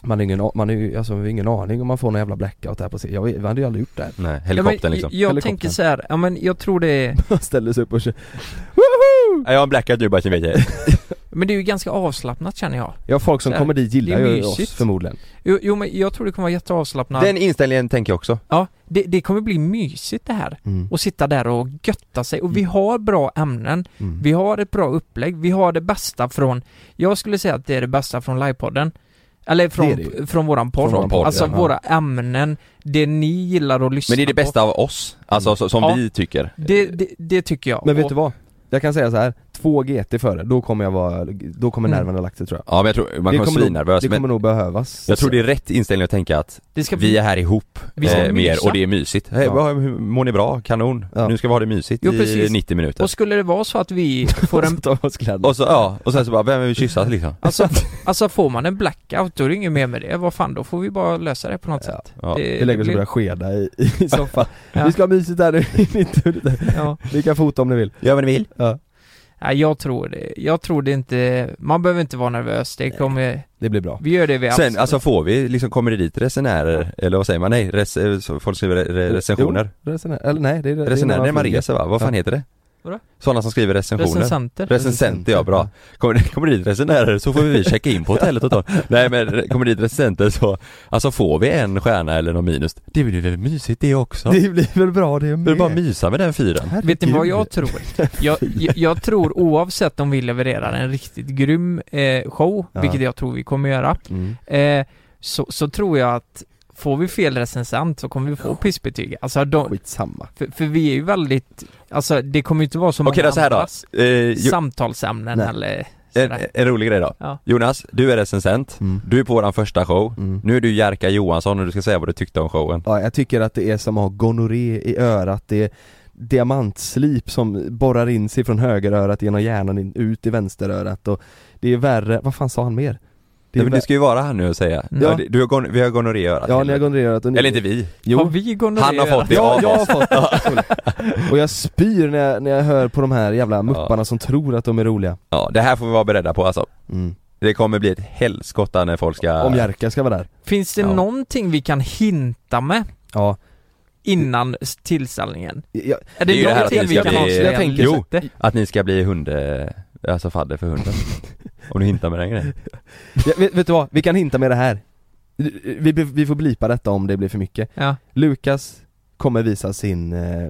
Speaker 1: man har ingen, a- man har ju, alltså, vi har ingen aning om man får någon jävla blackout här på sig. Jag, vet- vi hade ju aldrig gjort det här.
Speaker 3: Nej, helikoptern
Speaker 2: ja, men,
Speaker 3: liksom
Speaker 2: Jag, jag tänker så här, ja men jag tror det är,
Speaker 1: Ställer sig upp och kör Woho!
Speaker 3: Ja, Jag har en blackout nu bara så ni vet det.
Speaker 2: men det är ju ganska avslappnat känner jag.
Speaker 1: Ja folk som
Speaker 2: Så här,
Speaker 1: kommer dit gillar
Speaker 2: det är
Speaker 1: ju
Speaker 2: mysigt.
Speaker 1: oss förmodligen.
Speaker 2: Jo, jo men jag tror det kommer vara jätteavslappnat.
Speaker 3: Den inställningen tänker jag också
Speaker 2: Ja, det, det kommer bli mysigt det här.
Speaker 1: Mm.
Speaker 2: Och sitta där och götta sig.
Speaker 3: Mm.
Speaker 2: Och vi har bra ämnen,
Speaker 1: Mm.
Speaker 2: vi har ett bra upplägg, vi har det bästa från, jag skulle säga att det är det bästa från livepodden. Eller från,
Speaker 1: Det är det ju.
Speaker 2: från våran podd.
Speaker 3: Från våran podd,
Speaker 2: alltså
Speaker 3: ja.
Speaker 2: våra ämnen, det ni gillar att lyssna
Speaker 3: Men det är det
Speaker 2: på.
Speaker 3: bästa av oss, alltså så, som
Speaker 2: Ja.
Speaker 3: vi tycker
Speaker 2: Det, det, det tycker jag.
Speaker 1: Men vet
Speaker 2: Och-
Speaker 1: du vad? Jag kan säga så här. två GT före, då kommer jag vara, då kommer
Speaker 2: Mm.
Speaker 1: nerverna ha lagt sig tror jag.
Speaker 3: Ja men jag tror, man
Speaker 1: Det
Speaker 3: kommer
Speaker 1: kommer nog-
Speaker 3: svinnervös
Speaker 1: det
Speaker 3: alltså, men
Speaker 1: kommer nog behövas.
Speaker 3: jag tror det är rätt inställning att tänka att
Speaker 2: Det ska
Speaker 3: vi är här ihop
Speaker 2: Vi ska
Speaker 3: eh, mer
Speaker 2: mysa.
Speaker 3: och det är mysigt. Hej,
Speaker 1: Ja.
Speaker 3: vad- hur mår ni bra? Kanon.
Speaker 1: Ja.
Speaker 3: Nu ska vi ha det mysigt
Speaker 2: Jo,
Speaker 3: i
Speaker 2: precis.
Speaker 3: 90 minuter.
Speaker 2: Och skulle det vara så att vi får en,
Speaker 1: Ta av oss kläderna.
Speaker 3: Och så, ja, och sen så bara, vem vill kyssas liksom?
Speaker 2: alltså, alltså får man en blackout då är det inget mer med det. Vad fan, då får vi bara lösa det på något sätt.
Speaker 3: Ja.
Speaker 1: Vi lägger oss och
Speaker 2: blir-
Speaker 1: börjar skeda i, i soffan.
Speaker 2: Ja.
Speaker 1: Vi ska ha mysigt här nu i 90 minuter.
Speaker 2: Ja.
Speaker 1: Ni kan fota om ni vill.
Speaker 3: Gör vad ni vill.
Speaker 1: Ja.
Speaker 2: Nej, jag tror det. Jag tror det inte, man behöver inte vara nervös. Det kommer,
Speaker 1: Det blir bra.
Speaker 2: vi gör det vi
Speaker 3: Sen,
Speaker 2: absolut-
Speaker 3: alltså får vi, liksom kommer det dit resenärer, eller vad säger man? Nej, res, eh, så folk skriver re, re, recensioner.
Speaker 1: Jo, resenärer, eller nej det är det är
Speaker 3: resenärer
Speaker 1: några
Speaker 3: när man
Speaker 1: flyger.
Speaker 3: reser va? Vad fan
Speaker 1: Ja.
Speaker 3: heter det?
Speaker 2: Vadå?
Speaker 3: Sådana som skriver recensioner.
Speaker 2: recensenter.
Speaker 3: Recensenter, ja bra. Kommer, det- kommer det dit resenärer så får vi checka in på hotellet åt dem. Nej men re- kommer det dit recensenter så, alltså får vi en stjärna eller någon minus, det blir väl mysigt det också?
Speaker 1: Det blir väl bra det
Speaker 3: Det är
Speaker 1: med?
Speaker 3: bara att mysa med den fyren.
Speaker 2: Vet ni vad
Speaker 1: Herregud.
Speaker 2: jag tror? Jag, jag, jag tror oavsett om vi levererar en riktigt grym eh, show,
Speaker 1: Ja.
Speaker 2: vilket jag tror vi kommer göra,
Speaker 1: Mm.
Speaker 2: eh, så, så tror jag att får vi fel recensent så kommer vi få pissbetyg. Alltså de,
Speaker 1: Skitsamma.
Speaker 2: För, för vi är ju väldigt, alltså det kommer ju inte vara så
Speaker 3: Okej
Speaker 2: många
Speaker 3: då så här då.
Speaker 2: andras
Speaker 3: Eh, jo, eh,
Speaker 2: samtalsämnen
Speaker 1: Nej.
Speaker 2: eller
Speaker 3: en,
Speaker 2: sådär.
Speaker 3: en rolig grej då.
Speaker 2: Ja.
Speaker 3: Jonas, du är recensent.
Speaker 1: Mm.
Speaker 3: Du är på våran första show.
Speaker 1: Mm.
Speaker 3: Nu är du Jerka Johansson och du ska säga vad du tyckte om showen.
Speaker 1: Ja, jag tycker att det är som att ha gonorré i örat, det är diamantslip som borrar in sig från högerörat genom hjärnan in, ut i vänsterörat och det är värre, vad fan sa han mer? Det
Speaker 3: Det,
Speaker 1: är
Speaker 3: men det ska ju vara han nu och säga.
Speaker 2: Ja.
Speaker 3: Ja. Du har gon- vi har gonorré i örat.
Speaker 1: vär- ja, ni har gonorré i örat och ni...
Speaker 3: Eller inte vi.
Speaker 2: Har
Speaker 1: Jo,
Speaker 2: vi gonorré?
Speaker 3: Han har fått det
Speaker 1: Ja,
Speaker 3: av
Speaker 1: jag har
Speaker 3: oss.
Speaker 1: fått Och jag spyr när jag, när jag hör på de här jävla mupparna som tror att de är roliga.
Speaker 3: Ja, det här får vi vara beredda på alltså.
Speaker 1: Mm.
Speaker 3: Det kommer bli ett helskotta när folk ska...
Speaker 1: Om Jerka ska vara där.
Speaker 2: Finns det
Speaker 3: Ja.
Speaker 2: någonting vi kan hinta med
Speaker 1: Ja.
Speaker 2: innan s- tillställningen?
Speaker 1: Jag,
Speaker 2: Är
Speaker 3: Det
Speaker 2: det,
Speaker 3: är ju det här att
Speaker 2: någonting
Speaker 3: det
Speaker 2: vi
Speaker 3: ska
Speaker 2: kan
Speaker 3: bli-
Speaker 2: avslöja?
Speaker 3: Jag tänker så.
Speaker 2: lite?
Speaker 3: Att ni ska bli hund... eh, Alltså fadder för hunden. Om du hintar med den grejen.
Speaker 1: jag, vet, vet du vad? Vi kan hinta med det här. Vi, vi- vi får blipa detta om det blir för mycket.
Speaker 2: Ja,
Speaker 1: Lukas kommer visa sin... eh,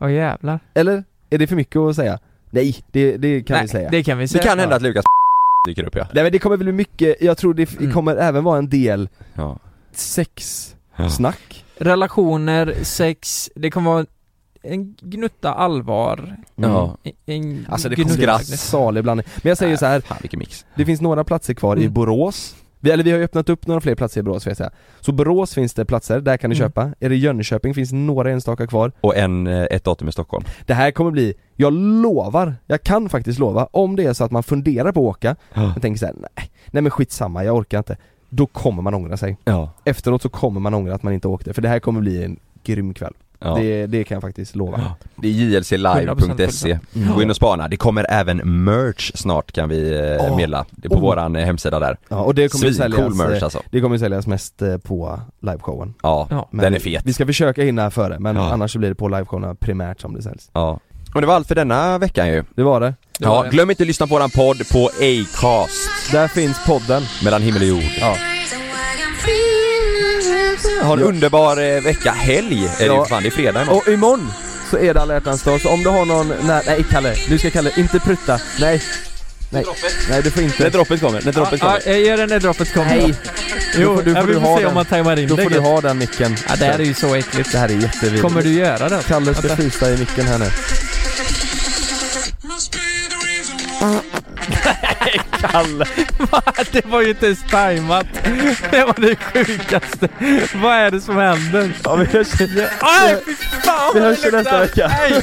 Speaker 2: åh jävlar.
Speaker 1: Eller? Är det för mycket att säga? Nej, det, det kan
Speaker 2: Nej,
Speaker 1: vi säga.
Speaker 2: Det kan vi
Speaker 3: Det
Speaker 2: säga.
Speaker 3: kan hända att Lukas dyker upp ja.
Speaker 1: Nej men det kommer bli mycket, jag tror det f-
Speaker 2: Mm.
Speaker 1: kommer även vara en del
Speaker 3: Ja.
Speaker 1: sex
Speaker 3: Ja.
Speaker 1: snack
Speaker 2: Relationer, sex, det kommer vara en gnutta allvar.
Speaker 3: Ja.
Speaker 2: En- En
Speaker 1: Alltså det kommer
Speaker 2: gnutta-
Speaker 1: bli en salig blandning. Men jag säger så här,
Speaker 3: Fan vilken mix.
Speaker 1: det finns några platser kvar i
Speaker 2: Mm.
Speaker 1: Borås vi, eller vi har ju öppnat upp några fler platser i Borås vill jag säga. Så Borås finns det platser, där kan ni
Speaker 2: Mm.
Speaker 1: köpa. Är det Jönköping finns några enstaka kvar.
Speaker 3: Och en, eh, ett datum i Stockholm.
Speaker 1: Det här kommer bli, jag lovar, jag kan faktiskt lova, om det är så att man funderar på att åka,
Speaker 3: Ja.
Speaker 1: man tänker så här, nej, nej men skitsamma, jag orkar inte. Då kommer man ångra sig.
Speaker 3: Ja.
Speaker 1: Efteråt så kommer man ångra att man inte åkte, för det här kommer bli en grym kll. Det, det kan jag faktiskt lova.
Speaker 3: Det är jlclive.se. Gå in och spana. Det kommer även merch snart kan vi eh,
Speaker 1: Åh.
Speaker 3: meddela. Det är på
Speaker 1: Oh.
Speaker 3: våran eh, hemsida där.
Speaker 1: Ja, och det kommer ju säljas,
Speaker 3: Svincool merch
Speaker 1: eh,
Speaker 3: alltså.
Speaker 1: det kommer ju säljas mest eh, på liveshowen.
Speaker 3: Ja,
Speaker 2: Ja.
Speaker 3: den är fet.
Speaker 1: Vi ska försöka hinna före, men
Speaker 3: Ja.
Speaker 1: annars så blir det på liveshowerna primärt som det säljs.
Speaker 3: Ja. Och det var allt för denna veckan ju.
Speaker 1: Det var det.
Speaker 3: ja, glöm inte att lyssna på våran podd på Acast.
Speaker 1: Där finns podden.
Speaker 3: Mellan himmel och jord. Ha en underbar eh, vecka, helg är det
Speaker 1: Ja.
Speaker 3: ju fan, det är fredag imorgon.
Speaker 1: Och imorgon så är det alla hjärtans dag, så om du har någon, nej, nej Kalle, nu ska Kalle, inte prutta, nej. Nej, nej du får inte.
Speaker 3: När droppet kommer, när droppet
Speaker 2: Ja,
Speaker 3: kommer.
Speaker 2: jag gör det när droppet kommer.
Speaker 1: Nej.
Speaker 2: Jo,
Speaker 1: Då får- då
Speaker 2: ja,
Speaker 1: får
Speaker 2: vi
Speaker 1: du
Speaker 2: får
Speaker 1: ha
Speaker 2: se om
Speaker 1: den.
Speaker 2: man tajmar in
Speaker 1: Då
Speaker 2: det.
Speaker 1: får du ha den micken.
Speaker 2: Ja, det här är ju så äckligt.
Speaker 1: Det här är jättevidrigt.
Speaker 2: Kommer du göra det?
Speaker 1: Kalle ska
Speaker 2: Vänta.
Speaker 1: frysa i micken här nu.
Speaker 2: Kalle. Va? det var ju inte ens tajmat. Det var det sjukaste. Vad är det som händer?
Speaker 1: Ja, vi hörs,
Speaker 2: Aj, fy fan!
Speaker 1: vi hörs ju nästa vecka.
Speaker 2: Nej.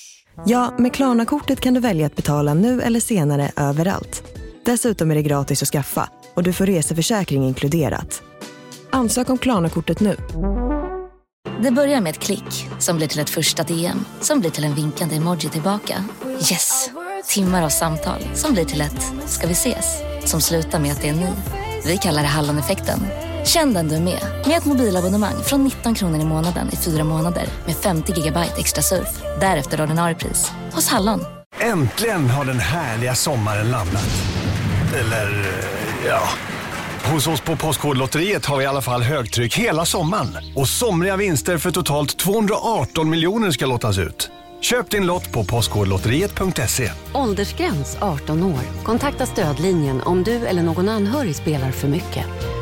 Speaker 5: Ja, med Klarna-kortet kan du välja att betala nu eller senare överallt. Dessutom är det gratis att skaffa och du får reseförsäkring inkluderat. Ansök om Klarna-kortet nu.
Speaker 6: Det börjar med ett klick som blir till ett första DM som blir till en vinkande emoji tillbaka. Yes! Timmar av samtal som blir till ett “ska vi ses?” som slutar med att det är ni. Vi kallar det Halloneffekten. Känn den du är med, med ett mobilabonnemang från 19 kronor i månaden i fyra månader med 50 gigabyte extra surf. Därefter ordinarie pris, hos Hallon.
Speaker 7: Äntligen har den härliga sommaren landat. Eller, eh, ja. Hos oss på Postkodlotteriet har vi i alla fall högtryck hela sommaren. Och somriga vinster för totalt 218 miljoner ska lottas ut. Köp din lott på postkodlotteriet.se.
Speaker 8: Åldersgräns 18 år. Kontakta stödlinjen om du eller någon anhörig spelar för mycket.